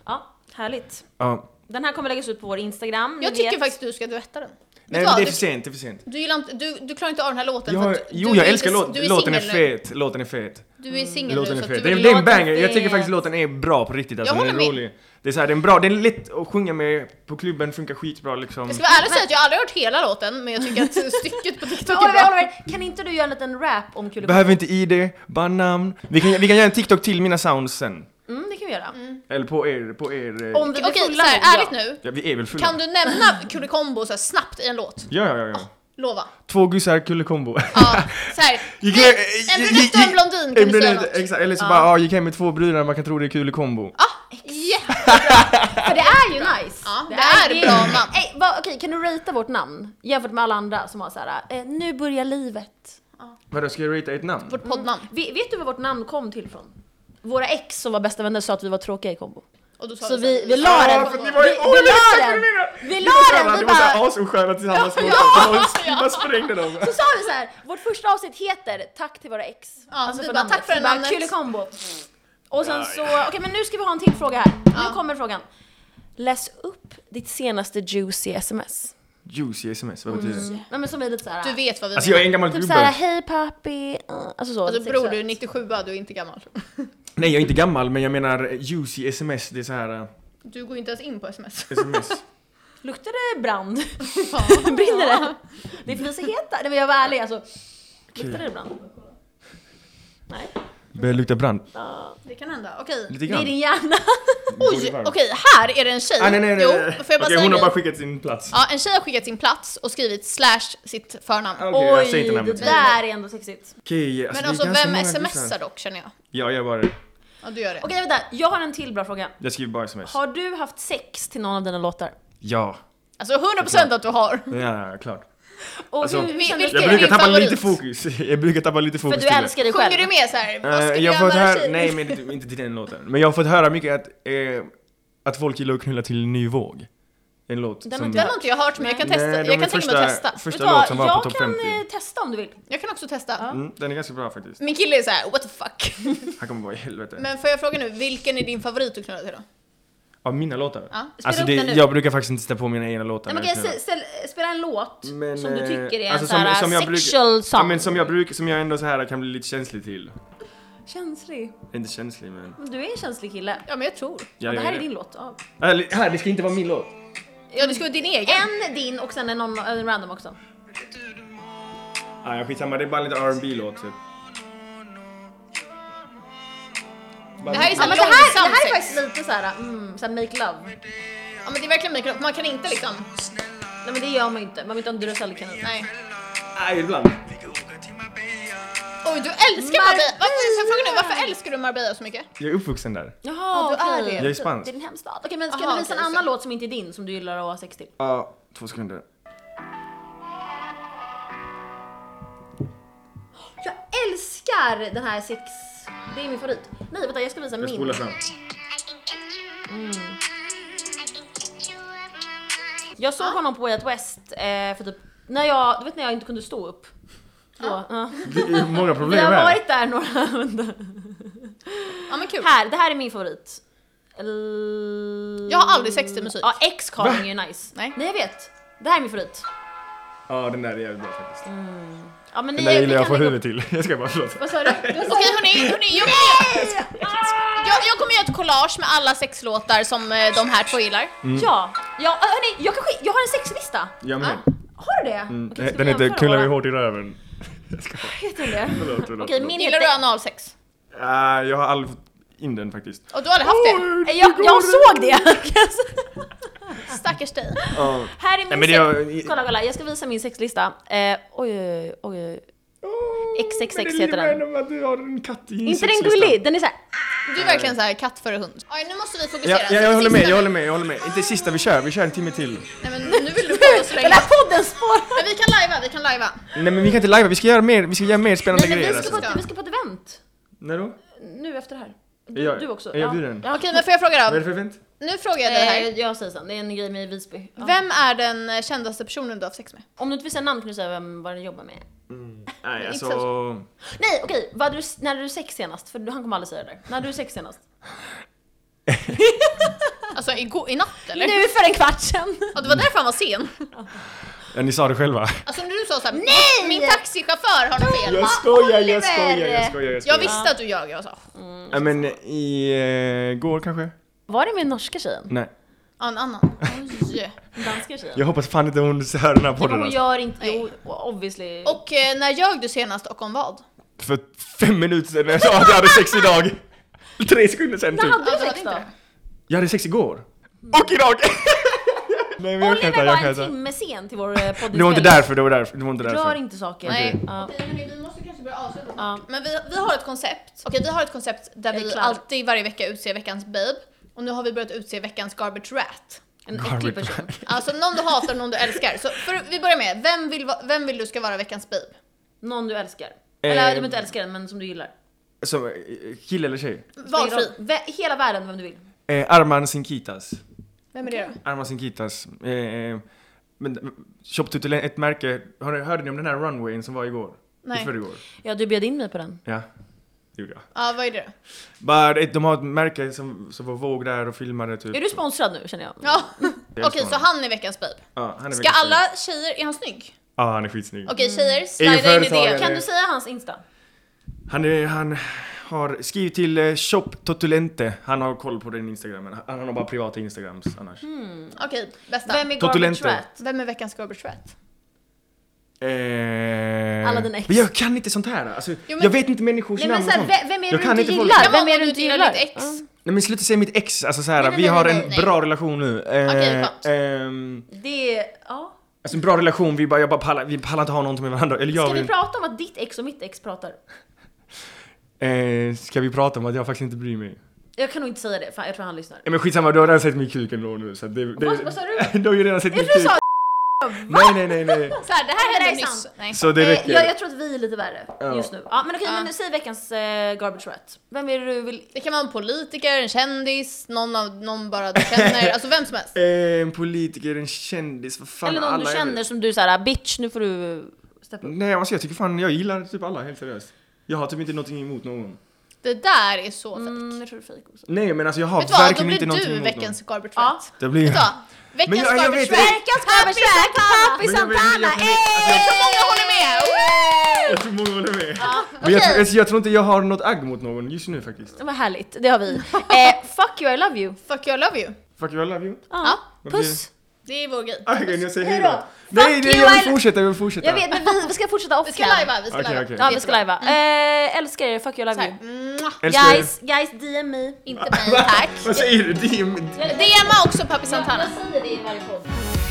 Speaker 3: Ja, härligt.
Speaker 2: Ja.
Speaker 3: Den här kommer läggas ut på vår Instagram. ni
Speaker 1: Jag tycker
Speaker 3: vet.
Speaker 1: faktiskt du ska duetta den.
Speaker 2: Nej
Speaker 1: vad,
Speaker 2: men det är
Speaker 1: du-
Speaker 2: för sent, det är för sent.
Speaker 1: Du, gillar inte, du, du klarar inte av den här låten
Speaker 2: Jag,
Speaker 1: att
Speaker 2: jo
Speaker 1: du
Speaker 2: jag
Speaker 1: är-
Speaker 2: älskar låten,
Speaker 1: du är
Speaker 2: låten är
Speaker 1: singel nu.
Speaker 2: fet, låten är fet.
Speaker 1: Du är singel nu
Speaker 2: Låten är
Speaker 1: så att du
Speaker 2: fet. Det är,
Speaker 1: vill
Speaker 2: det är en
Speaker 3: Låten
Speaker 2: banger, jag tycker
Speaker 3: fet.
Speaker 2: faktiskt låten är bra på riktigt alltså,
Speaker 1: Jag
Speaker 2: den är
Speaker 1: håller med.
Speaker 2: rolig. Det är så här, den är bra, den är lätt att sjunga med på klubben, funkar skitbra liksom.
Speaker 1: Jag ska vara ärlig och säga att jag aldrig har hört hela låten, men jag tycker
Speaker 2: [LAUGHS]
Speaker 1: att stycket på TikTok är
Speaker 3: Oliver,
Speaker 1: bra.
Speaker 3: Oliver, kan inte du göra en liten rap om Kulle?
Speaker 2: Behöver inte ID, bara namn. Vi kan, vi kan göra en TikTok till mina sounds sen.
Speaker 3: Mm, det kan vi göra.
Speaker 2: Eller på er, på er... eh,
Speaker 3: Om vi blir
Speaker 1: Okej, så
Speaker 3: fulla
Speaker 1: här,
Speaker 3: nu,
Speaker 1: ärligt
Speaker 3: ja.
Speaker 1: nu.
Speaker 2: Ja, vi är väl fulla?
Speaker 1: Kan du nämna Kulikombo så här snabbt i en låt?
Speaker 2: Ja, ja, ja, ja. [LAUGHS]
Speaker 1: Lova.
Speaker 2: Två gussar, kullekombo.
Speaker 1: Ja, såhär.
Speaker 2: [LAUGHS] Gick
Speaker 1: Nej,
Speaker 2: hem-
Speaker 1: En
Speaker 2: gick-
Speaker 1: brunett och en
Speaker 2: gick-
Speaker 1: blondin kan du
Speaker 2: en
Speaker 1: säga
Speaker 2: brunett,
Speaker 1: något? Ah.
Speaker 2: Exakt, eller så bara ja, gick hem med två brudar, man kan tro det är kul i kombo.
Speaker 1: Ja, jätte-
Speaker 3: För det är ju nice.
Speaker 1: Ja, det är bra namn.
Speaker 3: Ey, vad- Okej, kan du ratea vårt namn jämfört med alla andra som har så här, eh, nu börjar livet.
Speaker 2: Vadå, ska jag ratea ett namn?
Speaker 1: Vårt poddnamn.
Speaker 3: Vi, vet du var vårt namn kom till från? Våra ex som var bästa vänner sa att vi var tråkiga i kombo.
Speaker 1: Och då sa
Speaker 3: Så
Speaker 1: vi
Speaker 3: vi,
Speaker 1: här,
Speaker 3: vi la den.
Speaker 2: för att ni
Speaker 3: Vi,
Speaker 2: var ju-
Speaker 3: vi
Speaker 2: åh, jag vet
Speaker 3: la
Speaker 2: exakt vad
Speaker 3: den.
Speaker 2: du menar.
Speaker 3: Vi
Speaker 2: Ni
Speaker 3: la
Speaker 2: var så
Speaker 3: den.
Speaker 2: här-
Speaker 3: Vi
Speaker 2: Ni var såhär
Speaker 3: bara,
Speaker 2: asosköna tillsammans,
Speaker 3: Ja,
Speaker 2: ja,
Speaker 3: ja.
Speaker 2: man, man sprängde dem.
Speaker 3: så sa vi så här, vårt första avsnitt heter Tack till våra ex. Alltså,
Speaker 1: Ja, vi bara, tack för
Speaker 3: Vi
Speaker 1: det
Speaker 3: bara,
Speaker 1: namnet.
Speaker 3: Kul i kombo. Och sen
Speaker 2: Ja,
Speaker 3: så, okej men nu ska vi ha en till fråga här. Nu kommer frågan. Läs upp ditt senaste juicy sms.
Speaker 2: Juicy sms, vad betyder det?
Speaker 3: Nej men som är lite såhär,
Speaker 1: Du vet vad vi
Speaker 2: Alltså jag är en gammal
Speaker 3: Mm. typ
Speaker 2: gubbe.
Speaker 3: såhär hej pappi, uh, alltså så.
Speaker 1: Alltså
Speaker 3: lite
Speaker 1: bror, du är
Speaker 3: sexuellt.
Speaker 1: 97 du är inte gammal.
Speaker 2: Nej jag är inte gammal men jag menar eh, juicy sms, det är så här eh,
Speaker 1: Du går inte ens in på
Speaker 2: [LAUGHS]
Speaker 1: sms.
Speaker 2: sms.
Speaker 3: Luktar det brand?
Speaker 1: Ja.
Speaker 3: [LAUGHS] Brinner det? Det är för vi är så heta. Nej men jag var ärlig alltså. Luktar det brand? Nej,
Speaker 2: Börjar lukta brand.
Speaker 3: Ja,
Speaker 1: [LAUGHS] Det kan hända, okej.
Speaker 2: Lite
Speaker 3: det är
Speaker 2: grann.
Speaker 3: din hjärna.
Speaker 2: Borde
Speaker 1: Oj,
Speaker 2: vara.
Speaker 1: okej, här är det en tjej.
Speaker 2: Ah, nej nej nej.
Speaker 1: Jo,
Speaker 2: nej.
Speaker 1: får jag bara
Speaker 2: Okej,
Speaker 1: säga
Speaker 2: hon har
Speaker 1: en
Speaker 2: bara
Speaker 1: grej?
Speaker 2: skickat sin plats.
Speaker 1: Ja, en tjej har skickat sin plats och skrivit slash sitt förnamn.
Speaker 2: Okej, jag
Speaker 3: Ah, Oj,
Speaker 2: säger inte
Speaker 3: det
Speaker 2: namnet.
Speaker 3: där är ändå sexigt.
Speaker 2: Okej,
Speaker 1: Men
Speaker 2: det är
Speaker 1: alltså
Speaker 2: ganska
Speaker 1: vem
Speaker 2: många
Speaker 1: smsar
Speaker 2: gussar.
Speaker 1: dock känner jag?
Speaker 2: Ja, jag bara
Speaker 1: Ja du gör det.
Speaker 3: Okej vänta, jag har en till bra fråga.
Speaker 2: Jag skriver bara sms.
Speaker 3: Har du haft sex till någon av dina låtar?
Speaker 2: Ja.
Speaker 1: Alltså 100% att du har.
Speaker 2: Ja, Ja, ja, klart.
Speaker 3: Och
Speaker 2: Alltså,
Speaker 3: hur
Speaker 1: vi-
Speaker 3: kändes
Speaker 1: vilken-
Speaker 2: Jag
Speaker 1: är
Speaker 3: det?
Speaker 2: brukar
Speaker 1: din
Speaker 2: tappa
Speaker 1: favorit?
Speaker 2: lite fokus. [LAUGHS] Jag brukar tappa lite fokus
Speaker 3: För du
Speaker 2: till det.
Speaker 3: älskar dig själv?
Speaker 1: Sjunger du med såhär, vad
Speaker 2: Eh,
Speaker 1: skulle jag
Speaker 2: jag har fått
Speaker 1: göra
Speaker 2: höra,
Speaker 1: tjej?
Speaker 2: nej men inte- inte till den låten. Men jag har fått höra mycket att, eh, att folk gillar att knulla till Ny Våg. En låt
Speaker 3: Den har
Speaker 2: som...
Speaker 3: inte
Speaker 1: Den har inte jag hört men jag kan testa.
Speaker 2: Nej, de
Speaker 1: jag
Speaker 2: är
Speaker 1: kan tänka mig att
Speaker 2: första-
Speaker 1: testa.
Speaker 3: Vet
Speaker 2: Första
Speaker 3: du vad?
Speaker 2: låt som var
Speaker 3: jag
Speaker 2: på topp
Speaker 3: kan
Speaker 2: 50.
Speaker 3: eh, testa om du vill.
Speaker 1: Jag kan också testa.
Speaker 2: Mm, den är ganska bra faktiskt.
Speaker 1: Min kille är så här: what the fuck. [LAUGHS]
Speaker 2: Han kommer vara i helvete.
Speaker 1: Men får jag fråga nu, vilken är din favorit att knulla till då?
Speaker 2: Av mina låtar?
Speaker 1: Ja,
Speaker 3: spela
Speaker 2: alltså
Speaker 3: upp
Speaker 2: det,
Speaker 3: den nu.
Speaker 2: jag brukar faktiskt inte sätta på mina egna låtar.
Speaker 3: Nej, men
Speaker 2: när jag
Speaker 3: okej,
Speaker 2: knullar.
Speaker 3: ställ, spela en låt
Speaker 2: Men,
Speaker 3: som du
Speaker 2: eh,
Speaker 3: tycker är
Speaker 2: alltså,
Speaker 3: en
Speaker 2: som-
Speaker 3: sån här
Speaker 2: som jag brukar-
Speaker 3: sexual song.
Speaker 2: Ja men som jag brukar, som jag ändå så här kan bli lite känslig till.
Speaker 3: Känslig.
Speaker 2: Inte känslig men...
Speaker 3: Du är en känslig kille.
Speaker 1: Ja men jag tror.
Speaker 2: Ja,
Speaker 3: det
Speaker 2: jag
Speaker 3: här
Speaker 2: är
Speaker 3: är
Speaker 2: det.
Speaker 3: din låt. Ja.
Speaker 2: Eller, här, det ska inte vara min låt.
Speaker 1: Ja det ska vara din egen.
Speaker 3: En din och sen en, någon, en random också.
Speaker 2: Ah, ja, skitsamma, det är bara en liten rb låt typ.
Speaker 1: Det här är så
Speaker 3: Ja,
Speaker 1: här
Speaker 3: men det, här,
Speaker 1: långsam
Speaker 3: det här är
Speaker 1: sex.
Speaker 3: faktiskt lite såhär, mm, såhär make love.
Speaker 1: Ja men det är verkligen mycket, man kan inte liksom.
Speaker 3: Nej men det gör man ju inte. Man vet inte om du är sällan kanin.
Speaker 1: Nej.
Speaker 2: Nej, ibland.
Speaker 1: Oj du älskar Marbella! Varför, får jag fråga nu, varför älskar du Marbella så mycket?
Speaker 2: Jag är uppvuxen där.
Speaker 3: Jaha,
Speaker 1: Ja, du är
Speaker 3: okej.
Speaker 1: det.
Speaker 2: Jag är spansk.
Speaker 3: Det är din hemstad. Okej men ska
Speaker 1: Aha,
Speaker 3: du visa en
Speaker 1: okej,
Speaker 3: annan
Speaker 1: så.
Speaker 3: låt som inte är din som du gillar att ha sex till?
Speaker 2: Ja, två sekunder.
Speaker 3: Jag älskar den här sex... Det är min favorit. Nej vänta jag ska visa
Speaker 2: Jag
Speaker 3: min.
Speaker 2: spolar fram.
Speaker 3: [LAUGHS] Jag såg honom på Way Out West eh, för typ, när jag, du vet när jag inte kunde stå upp? Så, ja.
Speaker 2: Det är många
Speaker 3: Vi
Speaker 2: problem
Speaker 3: har
Speaker 2: här.
Speaker 3: varit där några vänta.
Speaker 1: Ja men kul.
Speaker 3: Här, det här är min favorit. L-
Speaker 1: Jag har aldrig sex till musik.
Speaker 3: Ja, x calling är ju nice.
Speaker 1: Nej.
Speaker 3: jag vet. Det här är min favorit.
Speaker 2: Ja, den där är jävligt bra faktiskt.
Speaker 3: Ja, men
Speaker 2: Den
Speaker 3: ni-
Speaker 2: där
Speaker 3: ni
Speaker 2: gillar jag
Speaker 3: kan
Speaker 2: få
Speaker 3: lägga
Speaker 2: huvudet till. Jag ska bara, förlåt.
Speaker 3: Vad sa du?
Speaker 1: Okej hörni, hörni jag, jag, jag kommer göra ett collage med alla sexlåtar som eh, de här två gillar.
Speaker 2: Mm.
Speaker 3: Ja, ja hörni, jag, kanske, jag har en sexlista.
Speaker 2: Jag med.
Speaker 3: Har du det?
Speaker 2: Mm.
Speaker 3: Okej, ska
Speaker 2: Den
Speaker 3: vi
Speaker 2: heter
Speaker 3: jämföra
Speaker 2: Knullar vi
Speaker 3: våra?
Speaker 2: hårt i röven.
Speaker 3: Heter den det?
Speaker 2: Förlåt, förlåt.
Speaker 3: Okej,
Speaker 2: förlåt.
Speaker 3: min
Speaker 1: Gillar du
Speaker 3: heter...
Speaker 1: analsex?
Speaker 2: Ah, jag har aldrig fått in den faktiskt.
Speaker 1: Och du har aldrig haft det?
Speaker 3: Eh, Jag, jag såg det! [LAUGHS]
Speaker 1: Stackars dig.
Speaker 2: Ja.
Speaker 3: Här är
Speaker 2: Nej,
Speaker 3: min
Speaker 2: men det
Speaker 3: sex...
Speaker 2: jag-
Speaker 3: Kolla, kolla, jag ska visa min sexlista. Eh, oj, oj, oj, oj. XXX
Speaker 2: Oh. Men det lilla
Speaker 3: heter den.
Speaker 2: är att du har en katt i
Speaker 3: Inte den
Speaker 2: sexlistan.
Speaker 3: gullig, den är [LAUGHS] såhär...
Speaker 1: Du är verkligen så här katt före hund. Oj, nu måste vi
Speaker 2: Ja,
Speaker 1: fokusera.
Speaker 2: ja, jag håller med,
Speaker 1: Sista-
Speaker 2: jag håller med, jag håller med. Inte sista vi kör, vi kör en timme till.
Speaker 1: Nej men nu vill du prata så länge.
Speaker 3: Den här podden spårar!
Speaker 1: Men vi kan lajva, vi kan lajva.
Speaker 2: Nej men vi kan inte livea, vi ska göra mer, vi ska göra mer spännande
Speaker 1: Nej, men vi
Speaker 2: grejer
Speaker 1: ska
Speaker 2: alltså.
Speaker 1: bara-
Speaker 3: Vi ska på ett event.
Speaker 2: När då?
Speaker 3: Nu efter det här.
Speaker 2: Är
Speaker 3: Du,
Speaker 2: jag-
Speaker 3: du också.
Speaker 2: är jag bjuden?
Speaker 3: Ja.
Speaker 1: Okej, men får jag fråga
Speaker 2: Vad är
Speaker 1: då?
Speaker 2: det för event?
Speaker 1: Nu frågar jag dig här.
Speaker 3: Eh, jag säger sen, det är en grej med Visby. Ja.
Speaker 1: Vem är den eh, kändaste personen du har haft sex med?
Speaker 3: Om du inte vill säga namn kan du säga vem, vad den jobbar med.
Speaker 2: Nej
Speaker 1: inte
Speaker 2: alltså...
Speaker 3: Nej okej, vad hade du, när hade du sex senast? För du- han kommer aldrig säga det där. När hade du sex senast?
Speaker 1: Alltså igår, i natt eller?
Speaker 3: Nu för en kvart sen!
Speaker 1: Ja, det var därför han var sen.
Speaker 2: Ja, ni sa det själva.
Speaker 1: Alltså när du sa såhär
Speaker 3: Nej!
Speaker 1: Min taxichaufför har något fel.
Speaker 2: Jag skojar, jag skojar, jag skojar, jag
Speaker 1: Jag
Speaker 2: skojar.
Speaker 1: visste att du ljög, jag sa.
Speaker 2: Ja, men i eh, går kanske?
Speaker 3: Var det med norska tjejen?
Speaker 2: Nej.
Speaker 1: Ja, en annan. Oj.
Speaker 3: Danska tjejen?
Speaker 2: Jag hoppas fan inte hon hör den här
Speaker 3: Nej, men
Speaker 2: podden
Speaker 3: hon
Speaker 2: alltså.
Speaker 3: gör inte,
Speaker 1: Nej.
Speaker 3: jo obviously.
Speaker 1: Och eh, när ljög du senast och om vad?
Speaker 2: alltså. För fem minuter sedan när jag sa att jag hade sex idag. [LAUGHS] Tre sekunder sedan
Speaker 3: när
Speaker 2: typ.
Speaker 3: hade
Speaker 1: Ja, du
Speaker 3: du
Speaker 1: hade
Speaker 3: sex
Speaker 1: Alltså, inte
Speaker 3: då?
Speaker 1: det.
Speaker 2: Jag hade sex igår. Och idag! [LAUGHS] Nej men jag kan inte,
Speaker 3: Mm.
Speaker 2: jag kan
Speaker 3: Oliver var en
Speaker 2: inte.
Speaker 3: timme sen till vår eh, poddinspelning.
Speaker 2: Det var inte därför, det var därför, det var inte
Speaker 3: Rör
Speaker 2: därför.
Speaker 3: inte saker.
Speaker 1: Nej.
Speaker 3: Ja.
Speaker 1: Okej, hörni, vi måste kanske börja avsluta.
Speaker 3: Ja.
Speaker 1: Men vi, vi har ett koncept. Okej, vi har ett koncept där
Speaker 3: Jag är
Speaker 1: vi
Speaker 3: klar.
Speaker 1: alltid varje vecka utser veckans babe. Och nu har vi börjat utse veckans garbage rat.
Speaker 3: En
Speaker 2: Garbage.
Speaker 3: äcklig person.
Speaker 1: Alltså någon du hatar och någon du älskar. Så för, vi börjar med, vem vill, va- vem vill du ska vara veckans babe?
Speaker 3: Någon du älskar.
Speaker 2: Eh,
Speaker 3: Eller du behöver inte älskar den men som du gillar.
Speaker 2: Som, eh, kille eller tjej?
Speaker 1: Valfri.
Speaker 3: Vä- Hela världen, vem du vill.
Speaker 2: Eh, Arman Sinkitas.
Speaker 1: Vem är det då?
Speaker 2: Arman Sinkitas. Eh, eh, men, köpte ut ett märke, Har ni- hörde ni om den här runwayen som var igår?
Speaker 1: Nej.
Speaker 2: I förrgår?
Speaker 3: Ja, du bjöd in mig på den.
Speaker 2: Ja, det gjorde jag.
Speaker 1: Ja, vad är det då?
Speaker 2: Bara, det- de har ett märke som, som var våg där och filmade typ.
Speaker 3: Är du sponsrad nu känner jag?
Speaker 1: Ja.
Speaker 2: Jag
Speaker 1: Okej,
Speaker 2: älskar
Speaker 1: så
Speaker 2: honom.
Speaker 1: han är veckans babe.
Speaker 2: Ja, han är
Speaker 1: Ska
Speaker 2: väldigt snygg.
Speaker 1: alla tjejer, är han snygg?
Speaker 2: Ja, han Mm. är skitsnygg.
Speaker 1: Okej tjejer, slida in i det.
Speaker 2: företagare.
Speaker 1: Kan
Speaker 3: Kan du säga hans Insta?
Speaker 2: Han, är, han har, skriv till eh, Shop Totulente. Han har koll på den instagrammen. Han, han har bara privata instagrams annars.
Speaker 3: Mm.
Speaker 1: Okej, bästa.
Speaker 3: Vem
Speaker 1: Vem
Speaker 3: är
Speaker 2: Totulente.
Speaker 3: Garbage Rat?
Speaker 1: är, veckans garbage rat?
Speaker 2: Eh,
Speaker 3: Alla dina ex.
Speaker 2: Men jag kan inte sånt här. Alltså,
Speaker 1: men-
Speaker 2: jag vet inte människors
Speaker 3: Nej men
Speaker 2: namn och
Speaker 3: såhär,
Speaker 2: sånt.
Speaker 3: ve- vem är det
Speaker 2: Jag
Speaker 3: du
Speaker 2: kan
Speaker 3: inte
Speaker 2: inte folk-
Speaker 3: gillar?
Speaker 1: Ja,
Speaker 3: Vem
Speaker 1: men
Speaker 3: är det
Speaker 1: du
Speaker 3: du inte
Speaker 1: gillar
Speaker 3: gillar?
Speaker 1: ditt ex.
Speaker 3: Ja.
Speaker 2: Nej men sluta säga mitt ex. Alltså så här,
Speaker 1: Nej, nej,
Speaker 2: vi
Speaker 1: nej,
Speaker 2: har
Speaker 1: nej,
Speaker 2: en
Speaker 1: nej.
Speaker 2: bra relation nu. Eh,
Speaker 1: Okej, skönt.
Speaker 2: ehm,
Speaker 3: Det, är- ja.
Speaker 2: alltså en bra relation, vi bara, jag bara pallar, vi pallar inte ha någonting med varandra. Eller jag
Speaker 3: Ska vi
Speaker 2: vill,
Speaker 3: prata om att ditt ex och mitt ex pratar?
Speaker 2: eh, ska vi prata om att jag faktiskt inte bryr mig?
Speaker 3: Jag kan nog inte säga det, för jag tror han lyssnar.
Speaker 2: Ja, men skitsamma, du har redan sett min kuk ändå nu så att det, det,
Speaker 3: Vad- vad sa
Speaker 2: [LAUGHS]
Speaker 3: du?
Speaker 2: Du har ju redan sett min
Speaker 3: Är du
Speaker 2: kuk.
Speaker 3: sa
Speaker 2: Nej nej nej nej.
Speaker 1: Såhär, det här
Speaker 3: Det
Speaker 1: hände
Speaker 3: där är
Speaker 1: nyss.
Speaker 3: sant.
Speaker 1: Nej.
Speaker 2: Så det
Speaker 3: Eh,
Speaker 2: räcker.
Speaker 3: jag, jag tror att vi är lite värre
Speaker 2: Ja.
Speaker 3: just nu. Ja, men okej,
Speaker 1: Ja.
Speaker 3: men säg veckans eh, garbage rat. Vem är det du vill...
Speaker 1: Det kan vara en politiker, en kändis, någon, av, någon bara du [LAUGHS] känner, alltså vem som helst.
Speaker 2: Eh, En politiker, en kändis, vad fan
Speaker 3: Eller någon
Speaker 2: alla
Speaker 3: du
Speaker 2: är-
Speaker 3: känner som du såhär, bitch nu får du steppa upp.
Speaker 2: Nej alltså jag tycker fan, jag gillar typ alla helt seriöst. Jag har typ inte någonting emot någon.
Speaker 1: Det där är så fake.
Speaker 3: Mm, jag tror det är fejk också.
Speaker 2: Nej men alltså jag har
Speaker 1: Vet du vad, då
Speaker 2: verkligen
Speaker 1: blir
Speaker 2: inte någonting
Speaker 1: du
Speaker 2: emot
Speaker 1: veckans
Speaker 2: någon.
Speaker 1: garbage
Speaker 3: Ja.
Speaker 1: rat.
Speaker 2: Det blir
Speaker 1: Vet du vad?
Speaker 2: Men
Speaker 1: Veckans
Speaker 2: jag- jag
Speaker 1: garbage
Speaker 2: vet det.
Speaker 1: rat!
Speaker 3: Veckans garbage rat! Papi
Speaker 2: Men jag vet- jag
Speaker 3: Santana!
Speaker 2: kan-
Speaker 1: Det är
Speaker 3: ey!
Speaker 1: så många håller med! Woo!
Speaker 2: Jag tror många håller med. Men jag, tror- alltså, jag tror inte jag har något agg mot någon just nu faktiskt.
Speaker 3: Vad härligt, det har vi. Eh, fuck you, I love you.
Speaker 1: Fuck you, I love you.
Speaker 2: Fuck you, I love you.
Speaker 3: Ja.
Speaker 2: Vad blir-
Speaker 3: Puss!
Speaker 1: Det är vår grej.
Speaker 2: Okej, jag säger hej
Speaker 3: Hej då.
Speaker 2: då. Nej,
Speaker 3: Fuck
Speaker 2: nej,
Speaker 3: you,
Speaker 2: jag
Speaker 3: I-
Speaker 2: vill fortsätta, jag vill fortsätta.
Speaker 3: Jag vet, men vi, vi ska fortsätta off
Speaker 1: Vi ska lajva, vi ska
Speaker 2: Okej,
Speaker 1: lajva.
Speaker 2: okej.
Speaker 3: Ja, vi ska
Speaker 1: Jättebra.
Speaker 3: lajva. Eh, älskar er, fuck you, I
Speaker 1: Så
Speaker 3: love you.
Speaker 1: här, mwah.
Speaker 2: Älskar
Speaker 3: Guys, guys, DM me.
Speaker 1: Inte mig, tack. [LAUGHS]
Speaker 2: Vad säger du? Det är-
Speaker 1: DMa också Papi Santana.
Speaker 3: säger det i varje podd.